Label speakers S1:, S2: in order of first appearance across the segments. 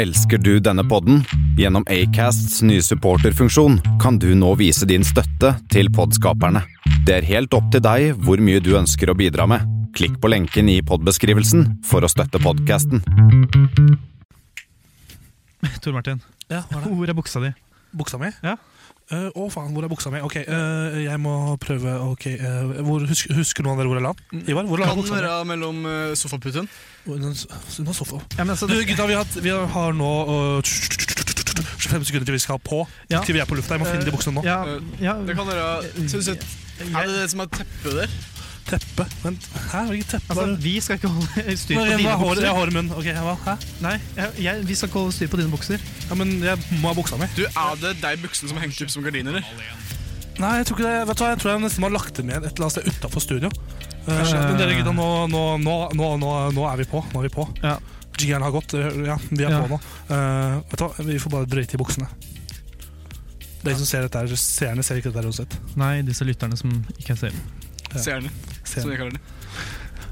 S1: Elsker du denne podden? Gjennom Acasts nye supporterfunksjon kan du nå vise din støtte til podskaperne. Det er helt opp til deg hvor mye du ønsker å bidra med. Klikk på lenken i podbeskrivelsen for å støtte podkasten.
S2: Tor Martin,
S3: Ja, hva er det?
S2: hvor er buksa di?
S3: Buksa mi?
S2: Ja.
S3: Eh, Å, faen, hvor er buksa mi? Ok, eh, jeg må prøve Ok, eh, hvor, husker, husker noen av dere hvor jeg la den? Ivar, hvor la
S4: Kan
S3: jeg buksa mi?
S4: være mellom eh, sofaputen.
S3: Under s- under sofaen.
S2: Ja, men altså,
S3: Du, gutta, vi har, hatt- vi har nå eh, 25 sekunder til vi skal på.
S2: Ja.
S3: Til vi er på lufta. Jeg må finne de buksene nå.
S2: Ja, ja,
S4: Det kan være Skal vi se Er det det som er teppet der?
S3: Teppe. Vent, hæ? Hvilket teppe?
S2: altså,
S3: var det?
S2: vi skal ikke holde styr
S3: Nå,
S2: på
S3: jeg, jeg,
S2: dine
S3: har håret- jeg
S2: bukser.
S3: har håret i munnen. Ok, hva? Hæ?
S2: Nei, jeg, jeg, vi skal ikke holde styr på dine bukser.
S3: Ja, men jeg må ha buksa mi.
S4: Du, Er det deg buksen som er hengt opp som gardin, eller?
S3: Nei, jeg tror ikke det. Vet du hva, jeg tror jeg nesten har lagt det med et eller annet sted utafor studio. Eh, men dere gutta, nå, nå, nå, nå, nå, nå er vi på. Nå er vi på.
S2: Ja.
S3: Jiggeren har gått. eh, Ja, vi er
S2: Ja.
S3: på nå. Eh, vet du hva, vi får bare drøyte i buksene. Dere som ser dette her, seerne ser ikke dette her uansett.
S2: Nei, disse lytterne som ikke er selv.
S3: Ja.
S4: Ser den, som
S3: Seerne.
S4: jeg kaller det.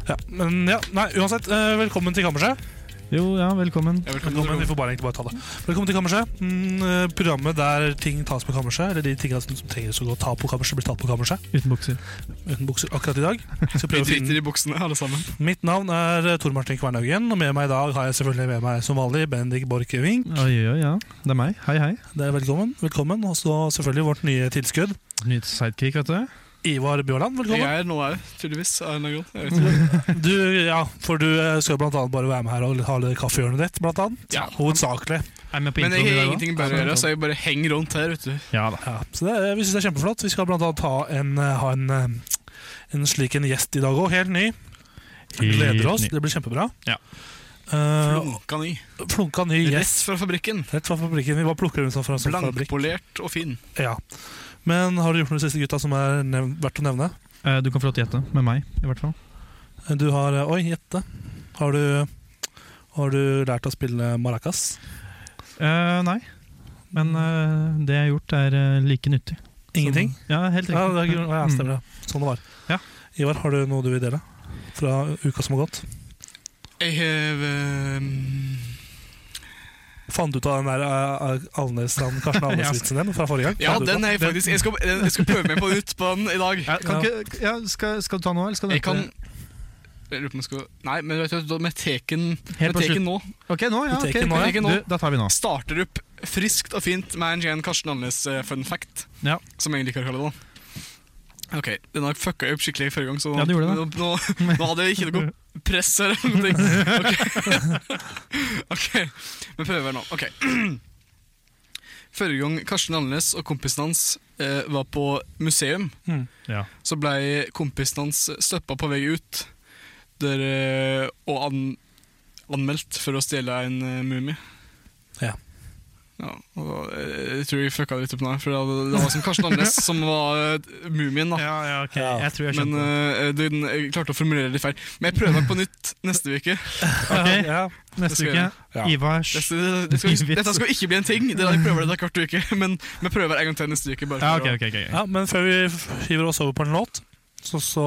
S3: Ja, men ja, nei, uansett, eh, velkommen til kammerset.
S2: Jo, ja, velkommen.
S4: Ja, velkommen
S3: Velkommen,
S4: til
S3: vi får bare egentlig bare ta det. Velkommen til kammerset. Mm, eh, programmet der ting tas på kammerset, eller de tingene som som trenger å gå ta på kammerset, blir tatt på kammerset.
S2: Uten bukser.
S3: Uten bukser akkurat i dag. Skal
S4: Vi
S3: prøve å finne
S4: driter i buksene, alle sammen.
S3: Mitt navn er eh, Tor Martin Kvernhaugen, og med meg i dag har jeg selvfølgelig med meg som vanlig Bendik Borchgrevink.
S2: Oi, oi, oi, ja. Det er meg. Hei, hei.
S3: Det er Velkommen. velkommen. Og så selvfølgelig vårt nye tilskudd,
S2: Nytt sidekick, vet du.
S3: Ivar Bjørland.
S4: Jeg
S3: Velkommen.
S4: er nå her, tydeligvis. Av en eller annen grunn. Jeg vet ikke.
S3: Du, ja, For du eh, skal blant annet bare være med her og ha litt kaffehjørnet ditt, blant annet.
S4: Ja.
S3: Hovedsakelig.
S2: Er med på
S4: Men jeg
S2: introen i
S4: har
S2: dag
S4: ingenting
S2: også?
S4: bedre å gjøre, så jeg bare henger rundt her. vet du
S2: Ja da.
S3: Ja, så det, eh, Vi syns det er kjempeflott. Vi skal blant annet ha en, eh, ha en, eh, en slik en gjest i dag òg. Helt ny.
S2: Helt
S3: Gleder oss.
S2: ny.
S3: Det blir kjempebra.
S2: Ja.
S4: Uh,
S3: Eh,
S4: Flunka ny.
S3: flunka ny gjest.
S4: Rett fra fabrikken.
S3: Rett fra fabrikken. Vi bare plukker den ut sånn fra fra fabrikken.
S4: Blankpolert og fin.
S3: Ja. Men har du gjort noe siste gutta som er nev verdt å nevne?
S2: Eh, Du kan få lov til å gjette. Med meg, i hvert fall.
S3: Du har eh, Oi, gjette. Har du, har du lært å spille maracas?
S2: Eh, nei. Men eh, det jeg har gjort, er eh, like nyttig.
S3: Ingenting?
S2: Som, ja, helt riktig.
S3: Sånn. Ja, det er, grunn- ja, stemmer det. Sånn det var.
S2: Ja.
S3: Ivar, har du noe du vil dele fra uka som har gått?
S4: Jeg har eh,
S3: Fant du ut av den der uh, Alnesstrand Karsten Alnes-vitsen din fra forrige gang?
S4: Ja,
S3: Fant du ut
S4: den
S3: av?
S4: er jeg faktisk Jeg skal, jeg skal prøve meg på nytt på den i dag.
S2: Mm. Ja, kan ikke, ja, skal, skal du ta nå, eller skal du
S4: Jeg kan
S2: vente?
S4: jeg lurer på om jeg skal Nei, men vet du, med teken,
S2: Helt
S4: med
S2: på
S4: teken nå
S2: Ok, nå, ja.
S3: Vi
S2: ok.
S3: tar ikke nå,
S4: ja.
S2: Du, da tar vi nå.
S4: starter opp friskt og fint med en Jan Karsten Alnes eh, fun fact.
S2: Ja.
S4: Som jeg liker å kalle det. da Ok, Den har jeg fucka opp skikkelig forrige gang, så nå,
S2: Ja, du gjorde
S4: nå, nå, nå hadde jeg ikke noe press her. eller noe ting. Ok, Ok, vi prøver nå. Ok Forrige gang Karsten Alnes og kompisen hans eh, var på museum,
S2: Hmm, Ja.
S4: så blei kompisen hans stoppa på vei ut der, eh, og an, anmeldt for å stjele en eh, mumie.
S3: Ja.
S4: Ja, og eh, jeg tror jeg fucka litt opp nå, for det var- det var som Karsten Andes som var eh, mumien. da.
S2: Ja, ja, ok.
S3: Ja.
S2: Jeg tror jeg
S4: Men
S2: skjønte det.
S4: eh, den, jeg klarte å formulere det litt feil. Men jeg prøver meg på nytt neste uke.
S2: Ok,
S3: Ja.
S4: skal
S2: eh, Neste uke.
S4: jeg gjøre.
S3: Ja.
S2: Ivars
S4: Dette, det skal, dette skal ikke bli en ting. Det er, jeg prøver det hver kvart uke, men vi prøver en gang til neste uke. Bare
S2: Ja,
S4: for
S2: ok,
S4: å-
S2: ok. ok.
S3: ja, men før vi f- hiver oss over på en låt, så, så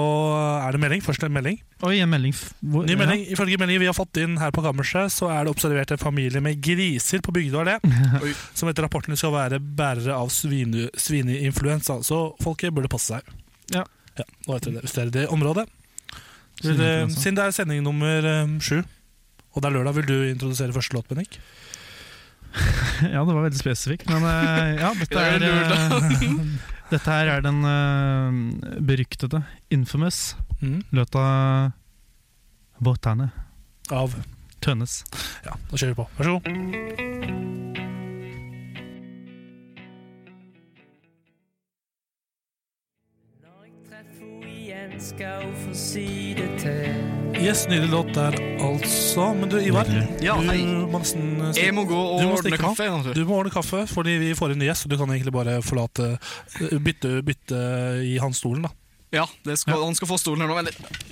S3: er det melding. Først en melding.
S2: Oi, en melding. f- Hvor,
S3: Ny melding. Ifølge meldingen vi har fått inn her på kammerset, så er det observert en familie med griser på Bygdøy allé,
S4: Oi.
S3: som etter rapporten skal være bærere av svine, svineinfluensa. Så folket burde passe seg.
S2: Ja.
S3: nå vet dere det. Hvis det er i det området. Vil, eh,
S2: Svineinfluensa.
S3: siden det er sending nummer eh, sju, og det er lørdag, vil du introdusere første låt, Bennik?
S2: Ja, det var veldig spesifikt, men eh, ja, dette
S4: Ja,
S2: er
S4: det er
S2: eh, Dette her er den eh, beryktede Infamous
S3: Mm.
S2: låta Botane.
S3: Av
S2: Tønnes.
S3: Ja, da kjører vi på. Vær så god.
S5: Når jeg treffer henne igjen, skal hun få si det til.
S3: Yes, nydelig låt der, altså. Men du, Ivar.
S2: Nydelig.
S4: Ja,
S3: du
S4: hei.
S3: må nesten eh,
S4: Jeg må gå og
S3: Du må
S4: ordne
S3: stikke av.
S4: kaffe. jeg, nå, tror jeg.
S3: Du må ordne kaffe, fordi vi får en ny gjest, så du kan egentlig bare forlate eh, Bytte, bytte i hans stolen, da.
S4: Ja, det skal, Han skal få stolen her nå. Vent litt.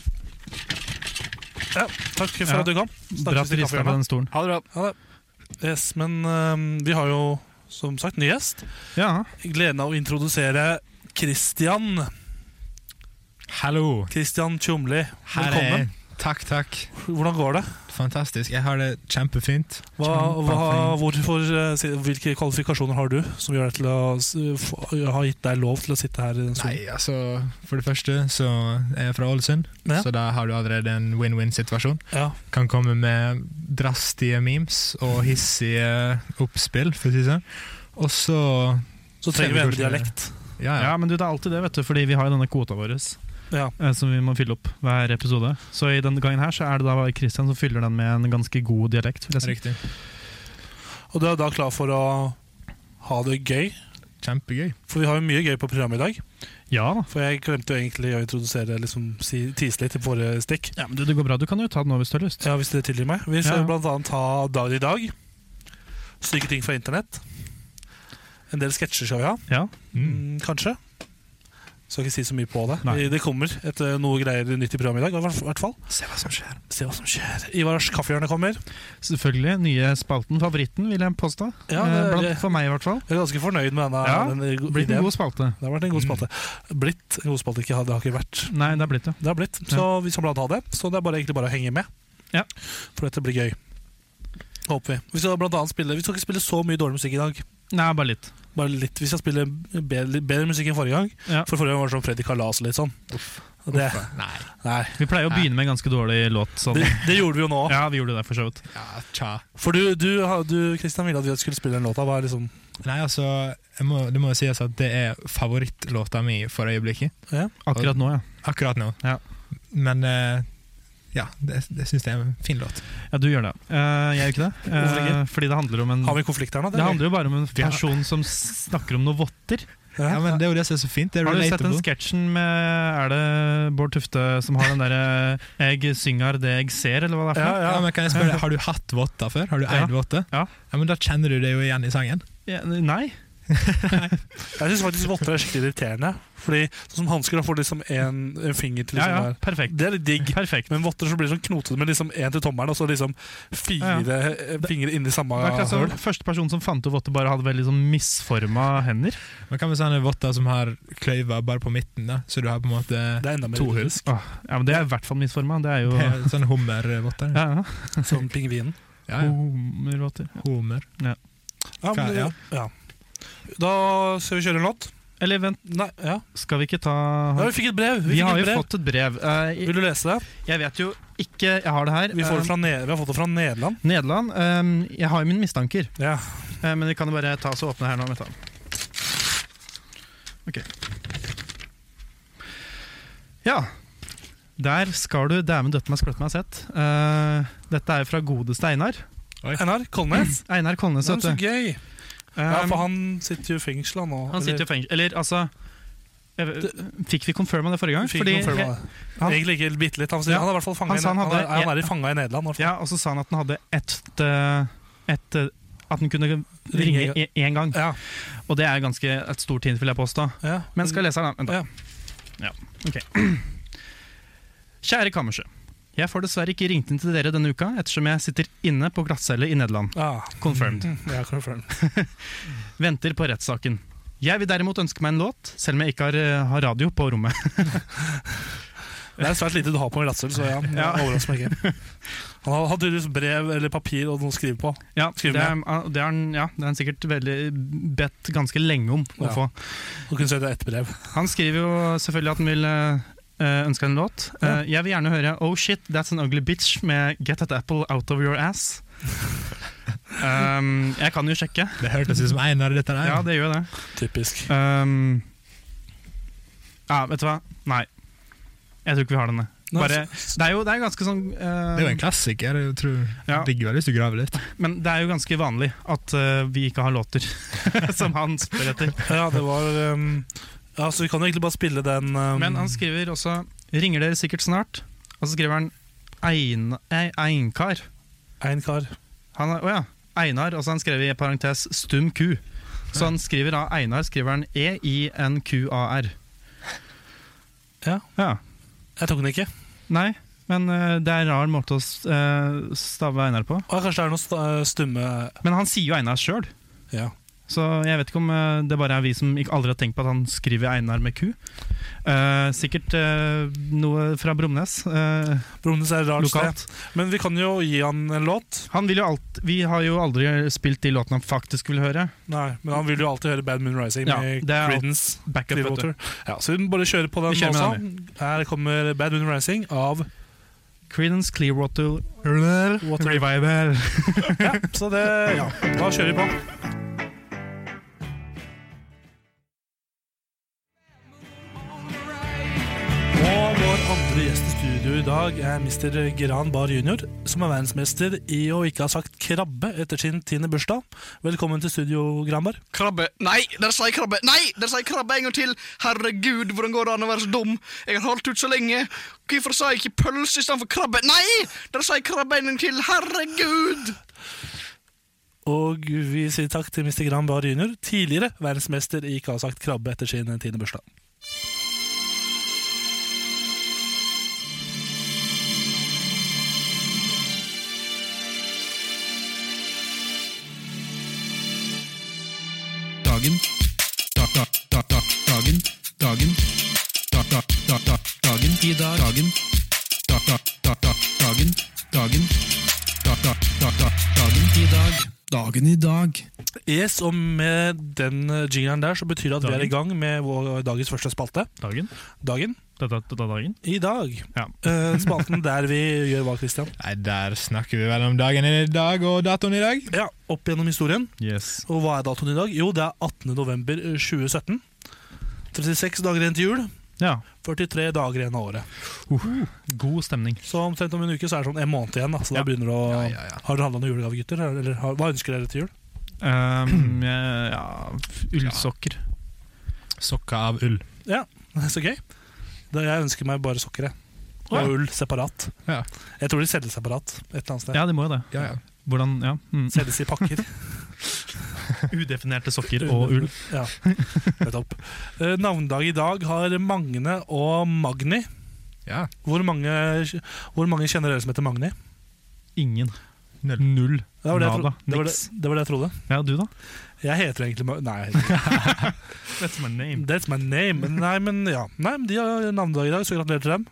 S3: Ja, takk for
S2: Ja.
S3: at du kom.
S2: Bra at du
S3: i
S2: rista på
S3: kaffehjørnet.
S2: den stolen.
S4: Ha det bra.
S3: Ja, da. yes, men øhm, vi har jo som sagt ny gjest.
S2: Ja,
S3: Gleden av å introdusere Christian.
S2: hallo.
S3: Christian Tjomli.
S2: Her er
S3: Velkommen.
S2: jeg.
S6: Takk, takk.
S3: Hvordan går det?
S6: Fantastisk. Jeg har det kjempefint.
S3: Hva, hva, hvorfor, eh, si- hvilke kvalifikasjoner har du som gjør deg til å s- få- har gitt deg lov til å sitte her en stund?
S6: Nei, altså, for det første så er jeg fra Ålesund,
S3: Ja.
S6: så da har du allerede en win-win-situasjon.
S3: Ja.
S6: Kan komme med drastige memes og hissige oppspill, for å si det sånn. Og så
S3: Så trenger vi en dialekt.
S6: Ja, ja.
S2: Ja, men du, det er alltid det, vet du, fordi vi har jo denne kvota vår eh,
S3: Ja.
S2: som vi må fylle opp hver episode. Så i denne gangen her så er det da bare Christian som fyller den med en ganske god dialekt. vil jeg si.
S6: Riktig.
S3: Og du er da klar for å ha det gøy?
S6: Kjempegøy.
S3: For vi har jo mye gøy på programmet i dag.
S2: Ja da.
S3: For jeg glemte jo egentlig å introdusere liksom, si, tise litt til våre stikk.
S2: Ja, men du, Det går bra. Du kan jo ta den nå hvis du har lyst.
S3: Ja, hvis dere tilgir meg. Vi skal
S2: Ja.
S3: blant annet ha Dagen i dag. Stygge ting fra internett. En del sketsjer skal vi ha,
S2: Ja.
S6: Mm.
S3: mm, kanskje. Skal ikke si så mye på det.
S2: Nei.
S3: Det kommer et, eh, noe greier nytt i programmet i dag. i hvert- hvert fall.
S6: Se hva som skjer.
S3: Se hva som skjer. Ivars kaffehjørne kommer.
S2: Selvfølgelig. Nye spalten. Favoritten, vil jeg påstå.
S3: Ja,
S2: Eh,
S3: det,
S2: Blant, for meg, i hvert fall.
S3: jeg er ganske fornøyd med denne,
S2: Ja,
S3: denne go-
S2: Blitt en
S3: ideen.
S2: god Mm. spalte.
S3: Det har vært en god spalte. Blitt en god spalte. Ikke, ha- det har ikke vært
S2: Nei, det er blitt det.
S3: Det har blitt, så vi skal blant annet ha det. Så det er bare, egentlig bare å henge med.
S2: Ja.
S3: For dette blir gøy. Håper vi. Vi skal blant annet spille Vi skal ikke spille så mye dårlig musikk i dag.
S2: Nei, bare litt.
S3: Bare litt, Vi skal spille bedre, litt bedre musikk enn forrige gang.
S2: Ja.
S3: For forrige gang var det sånn Freddy Kalas og litt sånn. Og Det,
S6: Nei.
S3: nei,
S2: Vi pleier å
S6: Nei.
S2: begynne med en ganske dårlig låt. Sånn.
S3: det, det gjorde vi jo nå.
S2: Ja, vi gjorde det for så vidt.
S6: Ja, tja.
S3: For du, du, har- du Christian, ville at vi skulle spille den låta. Hva er liksom
S6: Nei, altså, jeg må, det må jo sies at det er favorittlåta mi for øyeblikket.
S2: Akkurat nå, ja.
S6: Akkurat nå.
S2: Ja.
S6: Men eh, ja, det, det syns jeg er en fin låt.
S2: Ja, Du gjør det. Eh, jeg gjør ikke det. Eh,
S3: Hvorfor ikke?
S2: Fordi det handler om en
S3: Har vi en konflikt her nå?
S2: Det handler jo bare om en
S6: Ja.
S2: person som snakker om noe votter.
S6: Ja,
S3: ja.
S6: men Det er jo det som er så fint. Det er
S2: Har du sett den
S6: relatable.
S2: sketsjen med Er det Bård Tufte som har den derre 'Jeg synger det jeg ser', eller hva det er?
S3: Ja,
S2: for noe?
S6: Ja, men kan jeg spørre, Har du hatt votter før? Har du eid
S2: Ja.
S6: votter?
S2: Ja.
S6: men Da kjenner du det jo igjen i sangen.
S2: Ja, nei?
S3: Jeg syns faktisk votter er skikkelig irriterende. Fordi sånn som hansker, da får du liksom en, en finger til
S2: Ja,
S3: liksom
S2: ja,
S3: her.
S2: perfekt.
S3: Det er litt digg.
S2: Perfekt.
S3: Men votter så blir det sånn knotete med liksom én til tommelen, og så liksom fire
S2: Ja,
S3: eh, fingre inni samme
S2: Det er akkurat som
S3: høl.
S2: Første person som fant opp votter, bare hadde veldig sånn misforma hender.
S6: Men Hva med sånne votter som har kløyver bare på midten, da? så du har på en måte
S3: Det er enda mer
S6: to hull?
S3: idyllisk.
S2: Åh, ja, men Det er i hvert fall misforma. Det er jo ja,
S6: Eh, Sånne hummervotter? Ja.
S2: ja.
S3: Som pingvinen.
S6: Ja,
S2: Homervotter.
S6: Hummer.
S3: Ja, men,
S6: Ja.
S3: ja. Da skal vi kjøre en låt.
S2: Eller vent,
S3: Nei, ja.
S2: skal vi ikke ta
S3: ja vi fikk et brev! Vi,
S2: Vi
S3: fikk
S2: har
S3: et
S2: jo
S3: brev.
S2: fått et brev. Eh,
S3: Vil du lese det?
S2: Jeg vet jo ikke Jeg har det her.
S3: Vi, får det
S2: Eh,
S3: fra ne vi har fått det fra Nederland.
S2: Nederland. eh, Jeg har jo mine mistanker.
S3: Ja.
S2: Eh, Men vi kan jo bare ta oss og åpne her nå. Vent da. Ok. Ja. Der skal du dæven døtte meg skløtte meg sett. Eh, dette er fra godeste Einar.
S3: Einar Kolnes.
S2: Einar
S3: Nei,
S2: Kolnes,
S3: men
S2: vet du.
S3: Så gøy! Ja, for
S2: Eh,
S3: han sitter jo i fengsel han nå.
S2: han sitter jo i fengsel Eller altså jeg vet- Fikk vi confirma det forrige gang?
S3: Fikk
S2: Fordi-
S3: noen følge med det.
S2: han-
S3: Egentlig ikke bitte litt. Han, sier,
S2: Ja.
S3: han er i hvert fall fanga
S2: Han
S3: i,
S2: sa han
S3: han
S2: hadde-
S3: er, han er i, fanga i Nederland. i hvert fall.
S2: Ja, og så sa han at han hadde ett eh, ett, eh, At han kunne ringe i- én gang.
S3: Ja.
S2: Og det er ganske et stort hint, vil jeg påstå.
S3: Ja.
S2: Men skal jeg lese den, da? Vent da. Ja.
S3: Ja.
S2: ok. Kjære kammerset. Jeg får dessverre ikke ringt inn til dere denne uka, ettersom jeg sitter inne på glattcelle i Nederland.
S3: Ja.
S2: Confirmed.
S3: Ja, confirm.
S2: Venter på rettssaken. Jeg vil derimot ønske meg en låt, selv om jeg ikke har, eh, har radio på rommet.
S3: Det er svært lite du har på en radsel, så ja, det
S2: Ja.
S3: overrasker meg ikke. Han hadde tydeligvis brev eller papir og noe å skrive på.
S2: Ja, det
S3: Skriv
S2: er, ah, det er han- ja, det er han sikkert veldig bedt ganske lenge om å
S3: Ja.
S2: få.
S3: Og kunne sett ett brev.
S2: Han skriver jo selvfølgelig at han vil eh, eh, ønske en låt. Eh, jeg vil gjerne høre Oh Shit, That's An Ugly Bitch med Get That Apple Out Of Your Ass. um, jeg kan jo sjekke.
S6: Det hørtes ut som Einar, dette der.
S2: Ja, det gjør det.
S3: Typisk.
S2: Um, ja, vet du hva? Nei. Jeg tror ikke vi har denne.
S3: Nei,
S2: Bare,
S3: s-
S2: det er jo det er ganske sånn eh,
S6: Det er jo en klassiker. Jeg tror
S2: Ja.
S6: Digger hvis du graver litt.
S2: Men det er jo ganske vanlig at eh, vi ikke har låter som han spør etter.
S3: Ja, det var um, ja, Så vi kan jo egentlig bare spille den um,
S2: Men han skriver også Ringer dere sikkert snart? Og så skriver han Ein- Ei- Einkar.
S3: En kar.
S2: Han er, å ja, Einar, og så har han skrevet i parentes stum ku. Så han skriver da Einar, skriver han E E-I-N-Q-A-R.
S3: Ja.
S2: ja.
S3: Jeg tok den ikke.
S2: Nei, men eh, det er en rar måte å s- eh, stave Einar på.
S3: Og kanskje det er noe sta- stumme
S2: Men han sier jo Einar sjøl,
S3: Ja.
S2: Så jeg vet ikke om eh, det bare er vi som ikke aldri har tenkt på at han skriver Einar med Q. Eh, sikkert eh, noe fra Bromnes eh,
S3: Bromnes er et rart sted.
S2: lokalt.
S3: Men vi kan jo gi han en låt.
S2: Han vil jo alt, vi har jo aldri spilt de låtene han faktisk vil høre.
S3: Nei, men han vil jo alltid høre Bad Moon Rising
S2: Ja,
S3: med
S2: det er alt-
S3: Creedence.
S2: Backup, vet du.
S3: Clearwater. Ja, så vi må bare kjøre på den
S2: Vi
S3: nå
S2: kjører med
S3: også. Her kommer Bad Moon Rising av
S2: Creedence Clearwater
S3: Water.
S2: Revival.
S3: Ja, så det, ja, da kjører vi på. Og vår andre gjest i studio i dag er Mr. Geran Bar jr., som er verdensmester i å ikke ha sagt krabbe etter sin tiende bursdag. Velkommen til studio, Gran Bar.
S4: Krabbe. Nei, dere sier krabbe! Nei, dere sier krabbe en gang til! Herregud, hvordan går det an å være så dum? Jeg har holdt ut så lenge. Hvorfor sa jeg ikke pølse istedenfor krabbe? Nei! Dere sier krabbe en gang til! Herregud!
S3: Og vi sier takk til Mr. Gran Bar jr., tidligere verdensmester i ikke å ha sagt krabbe etter sin tiende bursdag.
S7: dagen da, da, da, da, dagen dagen da, da, da, da, dagen i dag dagen da, da, da, da, dagen dagen da, da, da, da, dagen i dag dagen i dag
S3: Yes, og med den jingeren der så betyr det at vi er i gang med vår dagens første spalte.
S2: Dagen?
S3: Dagen
S2: Dette er dagen?
S3: i dag.
S2: Ja.
S3: Eh, spalten der vi gjør hva, Christian?
S6: Nei, der snakker vi vel om dagen i dag og datoen i dag.
S3: Ja, Opp gjennom historien.
S2: Yes.
S3: Og hva er datoen i dag? Jo, det er 18. november eh, 2017. 36 dager igjen til jul.
S2: Ja.
S3: 43 dager igjen av året.
S2: God stemning.
S3: Så omtrent om en uke så er det sånn en måned igjen. Da. Så da
S2: Ja.
S3: begynner det å
S6: Ja, ja, ja.
S3: Har dere handla noen julegave, gutter? Eller har, hva ønsker dere til jul?
S2: Um, eh, ja, ullsokker.
S6: Sokker av ull.
S3: Så gøy. Da jeg ønsker meg bare sokker, jeg. Og
S2: Ja.
S3: ull separat.
S6: Ja.
S3: Jeg tror de selges separat et eller annet sted.
S2: Ja, de må jo det.
S6: Ja, ja.
S2: Hvordan, ja. Mm.
S3: Selges i pakker.
S2: Udefinerte sokker og ull.
S3: Ja, nettopp. Eh, Navnedag i dag har Magne og Magni.
S6: ja.
S3: Hvor mange, hvor mange kjenner dere som heter Magni?
S2: Ingen.
S6: Null.
S2: Null.
S3: Det var det, jeg,
S2: Nada.
S3: tro det, var det,
S2: Niks.
S3: det var det jeg trodde.
S2: Ja, du, da?
S3: Jeg heter egentlig Ma- Nei, jeg heter ikke-
S2: That's my name.
S3: that's my name. Men Nei, men ja. Nei, men De har navnedag i dag, så gratulerer til dem.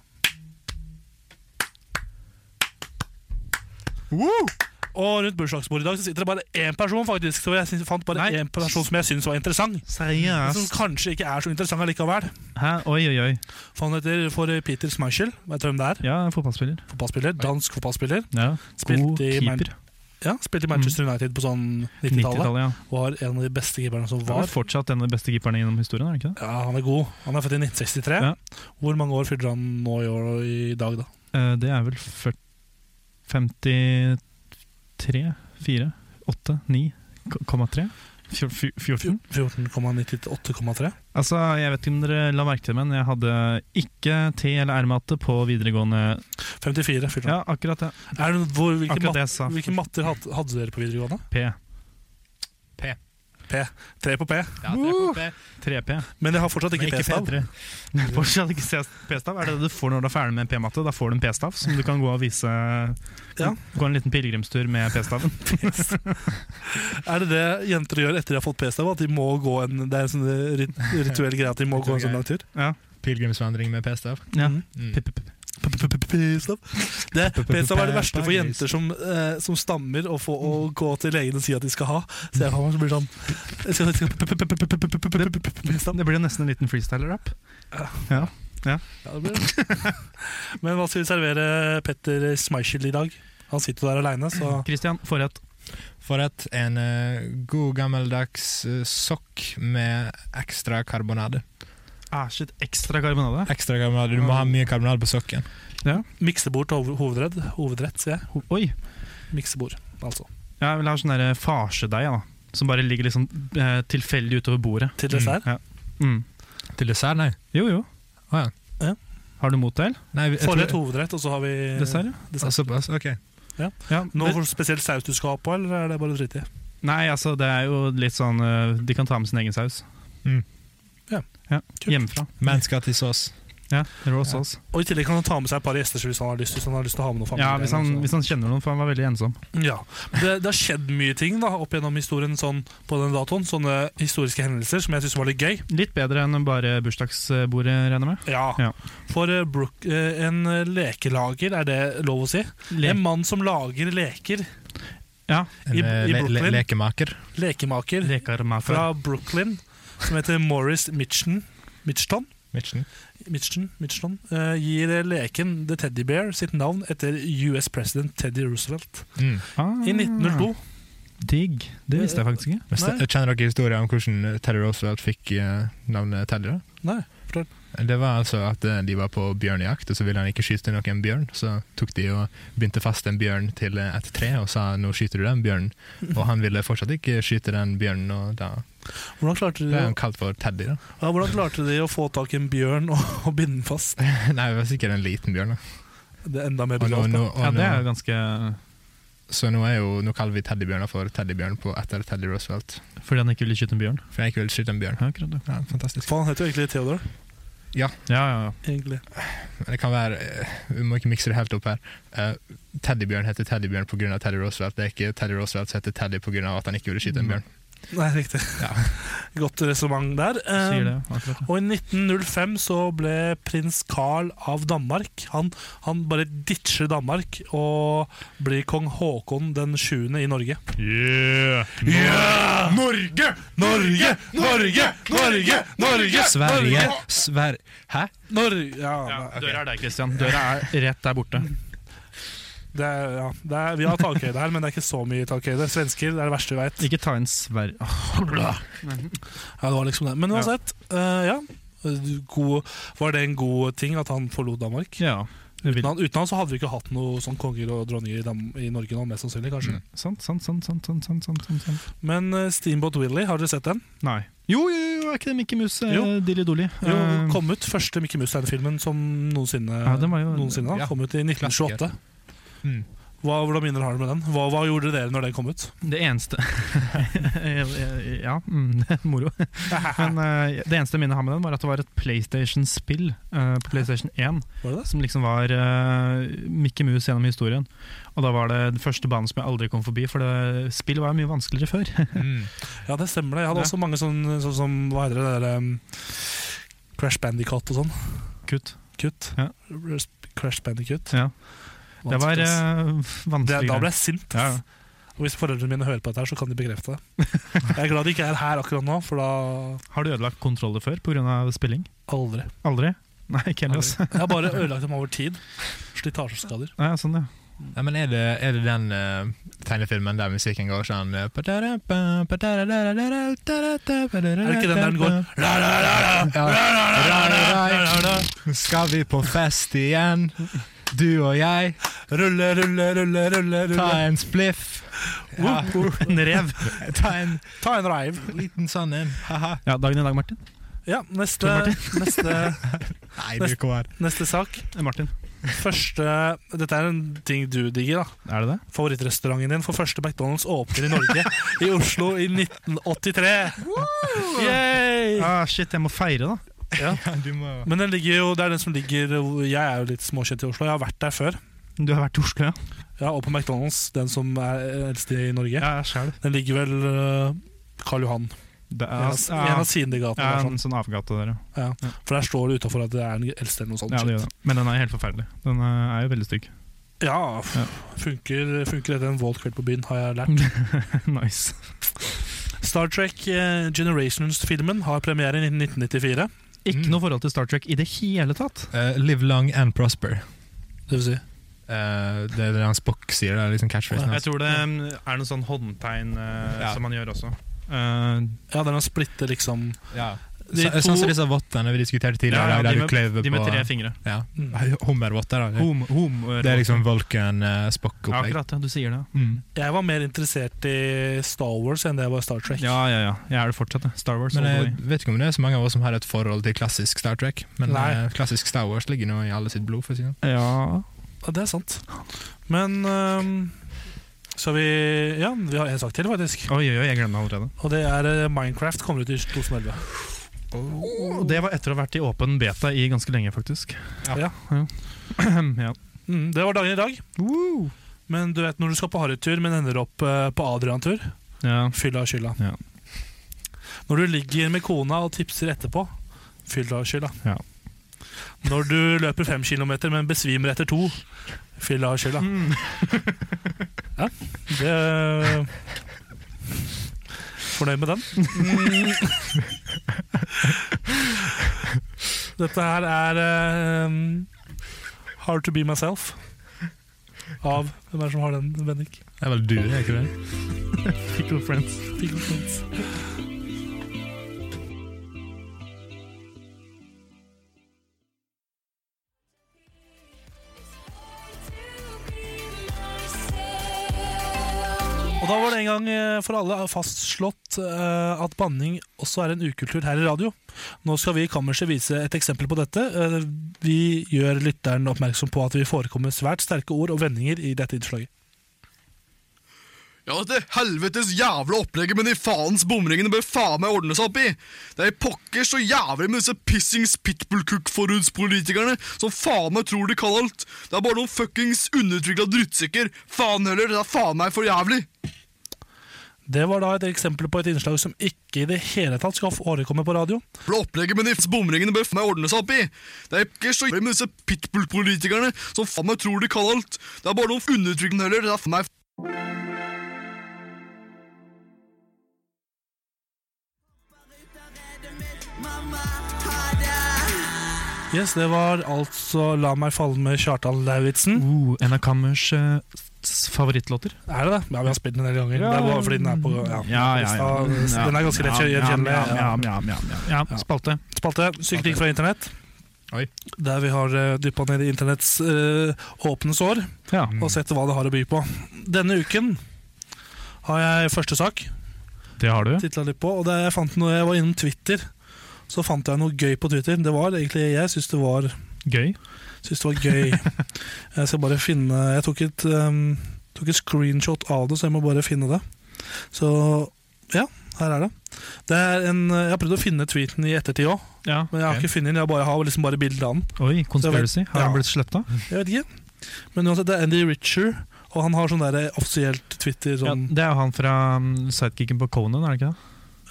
S3: Og rundt bursdagsbordet i dag så sitter det bare én person, faktisk. Så jeg syns- fant bare
S2: Nei.
S3: én person som jeg syns var interessant. Som
S2: Seriøst?
S3: kanskje ikke er så interessant allikevel.
S2: Hæ? Oi, oi, oi.
S3: For han heter for Peter Schmeichel. Vet du hvem det er?
S2: Ja, fotballspiller.
S3: Fotballspiller, Dansk fotballspiller.
S2: Ja. God
S3: Spilte i Man-
S2: keeper. Mm.
S3: Ja, spilte i Manchester United på sånn 90-tallet.
S2: 90-tallet, ja.
S3: Var en av de beste keeperne som
S2: Han er
S3: var.
S2: fortsatt en av de beste keeperne gjennom historien, er det ikke det?
S3: Ja, Han er god. Han er født i 1963.
S2: Ja.
S3: Hvor mange år fyller han nå i år i dag, da?
S2: Eh, Det er vel 40 53 4 8 9,3? 14?
S3: 14,98,3.
S2: Altså, Jeg vet ikke om dere la merke til det, men jeg hadde ikke T- eller R-matte på videregående.
S3: 54 fyller han.
S2: Ja, akkurat det.
S3: Er det, hvor, hvilke,
S2: Akkurat
S3: mat,
S2: det jeg sa.
S3: hvilke matter hadde, hadde dere på videregående?
S2: P.
S3: Tre på P.
S6: Ja, tre på P.
S2: 3P.
S3: Men jeg har fortsatt ikke
S6: Men
S3: P-stav.
S6: P3.
S2: Fortsatt ikke ses- P-stav. Er det det du får når du er ferdig med P-matte? Da får du en P-stav som du kan gå og vise
S3: Ja.
S2: Gå en liten pilegrimstur med P-staven.
S3: Er det det jenter gjør etter de har fått P-stav? At de må gå en, det er en sånn rit rituell greie at de må gå en sånn lang tur?
S2: Ja.
S6: Pilegrimsvandring med p-stav.
S2: Ja.
S3: Mhm.
S6: Mm.
S3: P-stav Det- P-stav er det verste for jenter som, eh, som stammer og får å gå til legen og si at de skal ha. Så jeg kommer, så blir det sånn jeg skal- jeg skal- P-stav.
S2: Det blir jo nesten en liten freestyle-rap.
S3: Ja, det blir det. Men hva skal vi servere Petter Schmeichel i dag? Han sitter jo der aleine, så
S2: Christian, forrett.
S6: For at en eh, god gammeldags eh, sokk med ekstra karbonade.
S2: Ah, shit, ekstra karbonade.
S6: Ekstra karbonade, Du må ha mye karbonade på sokken.
S3: mikse bort hov- hovedredd. Hovedrett, sier jeg.
S2: Ho- Oi!
S3: Mikse bord, altså.
S2: Jeg vil ha sånn der farsedeig, ja, da. Som bare ligger liksom eh, tilfeldig utover bordet.
S3: Til dessert.
S2: Mm.
S6: Til dessert, nei.
S2: Jo, jo.
S6: Å,
S3: Ja. Eh,
S2: Har du mot deg, eller?
S6: nei jeg
S3: Forrett,
S6: tror-
S3: hovedrett, og så har vi
S2: Dessert?
S6: Ah, Såpass, ok.
S2: Ja.
S3: Noe for spesiell saus du skal ha på, eller er det bare å drite i?
S2: Nei, altså det er jo litt sånn eh, De kan ta med sin egen saus.
S6: Mm.
S3: Ja.
S2: Ja, Hjemmefra.
S6: Mennesker til sås.
S2: Ja, rå sås.
S3: Og i tillegg kan han ta med seg et par gjester hvis han har lyst, hvis han har lyst til altså. å ha med noen familie.
S2: Ja, hvis han, hvis han kjenner noen, for han var veldig ensom.
S3: Ja, det, det har skjedd mye ting da, opp gjennom historien sånn, på den datoen. Sånne historiske hendelser som jeg syns var litt gøy.
S2: Litt bedre enn bare bursdagsbordet, regner jeg med.
S3: Ja,
S2: Ja.
S3: For eh, Brook, eh, en eh, lekelager, er det lov å si?
S2: Le-
S3: En mann som lager leker.
S2: Ja.
S3: I- i
S6: eh, le, le,
S3: Brooklyn?
S6: lekemaker.
S3: Lekemaker
S2: Rekarmaker.
S3: fra Brooklyn som heter Morris Mitchton. Mitchton?
S6: Mitchen.
S3: Mitchton, Mitchton eh, gir eh, leken The Teddy Bear sitt navn etter US president Teddy Roosevelt
S6: Mm.
S2: Ah,
S3: i 1902.
S2: Digg. Det visste jeg faktisk ikke.
S6: Men ste-
S3: Nei.
S6: Kjenner dere historien om hvordan Teddy Roosevelt fikk eh, navnet Teddy? da?
S3: Nei, fortell.
S6: Det var altså at eh, de var på bjørnejakt, og så ville han ikke skyte noen bjørn. Så tok de og bindte fast en bjørn til eh, et tre og sa 'nå skyter du den bjørnen'. Og han ville fortsatt ikke skyte den bjørnen, og da
S3: Hvordan klarte de
S6: ble
S3: å,
S6: han kalt for Teddy. da.
S3: ja, hvordan klarte de å få tak i en bjørn og, og binde den fast?
S6: Nei, det var sikkert en liten bjørn. da.
S3: Det er enda mer
S6: Og nå,
S3: brutalt.
S6: nå,
S3: da.
S2: Ja,
S6: og
S2: det er
S6: nå,
S2: jo ganske eh,
S6: så nå, er jo, nå kaller vi teddybjørner for teddybjørn på etter Teddy Roosevelt.
S2: Fordi han ikke ville skyte en bjørn.
S6: For jeg ikke vil skyte en bjørn.
S2: Ja, akkurat det.
S6: Ja, fantastisk.
S3: For han heter jo egentlig Theodor.
S2: Ja, ja, ja.
S3: Egentlig.
S6: Men det kan være eh, Vi må ikke mikse det helt opp her. Eh, Teddybjørn heter teddybjørn pga. Teddy Roosevelt. Det er ikke Teddy Roosevelt som heter Teddy pga. at han ikke ville skyte en bjørn.
S3: Nei, riktig.
S6: Ja.
S3: Godt resonnement der. Eh,
S2: Sier det, akkurat det.
S3: Og i 1905 så ble prins Carl av Danmark Han, han bare ditcher Danmark og blir kong Haakon den 7. i Norge. Yeah! Norge! Norge! Norge! Norge! Norge!
S6: Sverige Sver Hæ?
S3: Norge! Ja, nei,
S2: Døra er der, Christian. Døra er rett der borte.
S3: det er, ja, det er, vi har takhøyde her, men det er ikke så mye takhøyde. Svensker det er det verste vi veit.
S2: Ikke ta inn Sverige
S3: Ja, det var liksom det. Men uansett, eh, ja. God, var det en god ting at han forlot Danmark?
S2: Ja, det vil.
S3: Uten han, uten han så hadde vi ikke hatt noe sånn konger og dronninger i, Dam i Norge nå, mest sannsynlig. kanskje.
S2: Sant, sant, sant, sant, sant, sant, sant, sant, sant.
S3: Men eh, Steamboat Willie, har dere sett den?
S2: Nei. Jo, jo, jo, er ikke det Mikke Mus eh,
S3: Jo.
S2: Dilly Dolly?
S3: Jo,
S2: Eh,
S3: kom ut første Mickey Mustang-filmen som noensinne.
S2: Ja, den var jo-
S3: noensinne da.
S6: ja.
S3: Kom ut i 1928.
S6: Mm.
S3: Hva, hvordan minner har dere med den? Hva, hva gjorde dere når den kom ut?
S2: Det eneste Ja, mm, moro. Men eh, det eneste minnet jeg har med den, var at det var et PlayStation-spill eh, på PlayStation 1
S3: Var det det?
S2: som liksom var uh, Mikke Mus gjennom historien. Og da var det den første banen som jeg aldri kom forbi, for det, spill var jo mye vanskeligere før.
S6: Mm.
S3: Ja, det stemmer det. Jeg hadde
S2: Ja.
S3: også mange sånne sånn som Hva heter det der um, Crash Bandicoot og sånn.
S2: Kutt.
S3: Kutt.
S2: Ja.
S3: Res- Crash Bandicoot.
S2: Ja. Det var
S3: Vanskelig, ass.
S2: eh,
S3: det,
S2: vanskelig.
S3: Da ble jeg sint.
S2: ja.
S3: ass. Og Hvis foreldrene mine hører på dette, her, så kan de bekrefte det. Jeg er glad de ikke er her akkurat nå, for da
S2: Har du ødelagt kontroller før pga. spilling?
S3: Aldri.
S2: Aldri? Nei, ikke heller. altså.
S3: Jeg har bare ødelagt dem over tid. Slitasjeskader.
S2: Nei, sånn, ja.
S6: Nei, men er det, er det den eh, tegnefilmen der musikken går sånn eh, patara-pa, patara-ra-ra-ra-ra-ra-ra-ra-ra-ra-ra-ra-ra-ra-ra?
S3: Er det ikke den der den går la, la, la, la,
S6: Ja.
S3: la, la, la, la, la, la, la.
S6: Nå skal vi på fest igjen, du og jeg.
S3: Rulle, rulle, rulle, rulle,
S6: Ta
S3: rulle.
S6: en spliff. Ja,
S2: En rev.
S6: ta en
S3: Ta en reiv.
S6: liten sånn en. Haha.
S2: Ja, dagen i dag, Martin.
S3: Ja, neste, neste,
S6: Nei, du går.
S3: neste sak.
S2: Eh, Martin.
S3: Første Dette er en ting du digger, da.
S2: Er det det?
S3: Favorittrestauranten din for første McDonald's åpner i Norge, i Oslo, i 1983. Yay!
S2: Ah, shit, jeg må feire, da.
S6: Ja, du må
S3: Men den ligger jo, det er den som ligger Jeg er jo litt småkjent i Oslo. Jeg har vært der før.
S2: Du har vært i Oslo, ja?
S3: Ja, Og på McDonald's, den som er eldst i Norge.
S2: Ja, sjæl.
S3: Den ligger vel øh, Karl Johan.
S2: Det
S3: I en
S2: er,
S3: av- i en av
S2: altså,
S3: sidegatene.
S2: ja,
S3: der,
S2: en
S3: sånn.
S2: sånn avgate der, ja.
S3: For der står det utafor at det er den eldste eller noe sånt.
S2: ja det gjør det. Men den er helt forferdelig. Den eh, er jo veldig stygg.
S3: Ja, f-
S2: Ja.
S3: Funker, funker etter en våt kveld på byen, har jeg lært.
S2: nice.
S3: Star Trek eh, Generations-filmen har premiere i 1994.
S2: Ikke
S6: Mm.
S2: noe forhold til Star Trek i det hele tatt.
S6: Eh, Live long and prosper.
S3: Det vil si.
S6: Eh, det er det han Spock sier. Det er liksom
S2: Jeg
S6: catchphrasen hans.
S2: tror det mm, er noe sånn håndtegn eh,
S6: Ja.
S2: som man gjør også. Eh,
S3: Ja, den har splittet liksom
S6: Ja.
S3: De
S6: Så- Sånn som
S3: to-
S6: disse vottene vi diskuterte
S2: Ja,
S6: tidligere,
S2: ja,
S6: der
S2: de
S6: du
S2: med-
S6: kløyver
S2: de med
S6: på
S2: tre fingre.
S6: ja.
S3: Mm.
S6: Hummervotter. da.
S2: Hom, hom,
S6: Det er liksom Vulcan eh,
S2: ja,
S6: Spock-opplegg.
S2: Akkurat, ja, du sier det. ja.
S6: Mm.
S3: Jeg var mer interessert i Star Wars enn det jeg var Star Trek.
S2: Ja, ja, ja. Jeg er det fortsatt, jeg. Star Wars.
S6: Men
S2: all the
S6: jeg
S2: way.
S6: vet ikke om det er så mange av oss som har et forhold til klassisk Star Trek. Men
S3: Nei.
S6: eh, klassisk Star Wars ligger nå i alle sitt blod. for å si det. sånn.
S2: Ja.
S3: Ja, det er sant. Men øhm, så vi Ja, vi har en sak til, faktisk.
S2: Oi, oi, oi, jeg glemte det allerede.
S3: Og det er eh, Minecraft kommer ut i 2011.
S2: Og det var etter å ha vært i åpen beta i ganske lenge, faktisk.
S3: Ja.
S2: ja.
S3: Mm, det var dagen i dag.
S2: Woo!
S3: Men du vet når du skal på harrytur, men ender opp eh, på Adrian-tur.
S2: ja.
S3: Fylla og skylda.
S2: Ja.
S3: Når du ligger med kona og tipser etterpå, fylla og skylda.
S2: Ja.
S3: Når du løper fem kilometer, men besvimer etter to, fylla og skylda.
S2: Hmm.
S3: ja, det Fornøyd med den?
S2: Hmm.
S3: Dette her er eh, Hard to be myself. Av Hvem er det som har den, Bendik?
S6: Det er vel du, er ikke det?
S2: Pickle friends.
S3: Pickle Friends. Og da var det en gang eh, for alle fastslått eh, at banning også er en ukultur her i radio. Nå skal vi i kammerset vise et eksempel på dette. Eh, Vi gjør lytteren oppmerksom på at vi forekommer svært sterke ord og vendinger i dette innslaget.
S4: Ja, dette helvetes jævla opplegget med de faens bomringene bør faen meg ordne seg opp i. Det er pokker så jævlig med disse pissings pitbull-cook-forudspolitikerne som faen meg tror de kan alt. Det er bare noen fuckings underutvikla drittsekker. Faen heller, det er faen meg for jævlig.
S3: Det var da et eksempel på et innslag som ikke i det hele tatt skal forekomme på radio.
S4: Jævla opplegget med de bomringene bør faen meg ordne seg opp i. Det er pokker så jævlig med disse pitbull-politikerne som faen meg tror de kan alt. Det er bare noen underutvikla heller, det er faen meg
S3: Yes, Det var altså 'La meg falle' med Kjartan Lauritzen.
S2: Uh, en av Kammers eh, s- favorittlåter.
S3: Er det det? Ja, Vi har spilt den en del ganger. Det er bare fordi den er på ja. Så Den er ganske lett gjenkjennelig.
S2: Ja, ja, ja, ja, ja, ja. ja, spalte.
S3: Spalte sykling fra internett.
S6: Oi.
S3: Der vi har uh, dyppa ned i internetts eh, åpne sår
S2: Ja.
S3: og sett hva det har å by på. Denne uken har jeg første sak.
S2: Det har du.
S3: Titlet litt på, og det jeg fant Når jeg var innom Twitter, så fant jeg noe gøy på Twitter. Det var egentlig Jeg syns det var
S2: Gøy.
S3: Synes det var gøy. jeg skal bare finne Jeg tok et, ehm, tok et screenshot av det, så jeg må bare finne det. Så ja, her er det. det er en, jeg har prøvd å finne tweeten i ettertid òg,
S2: Ja.
S3: men jeg har
S6: Ok.
S3: ikke funnet den. Jeg har bare, har liksom bare bildet av den.
S2: Oi, conspiracy. Har
S3: Ja.
S2: han blitt sletta?
S3: Jeg vet ikke. Men uansett, det er Andy Richer, og han har sånn der offisielt Twitter
S2: Ja,
S3: sånn
S2: det er jo han fra um, sidekicken på Conan, er det ikke det?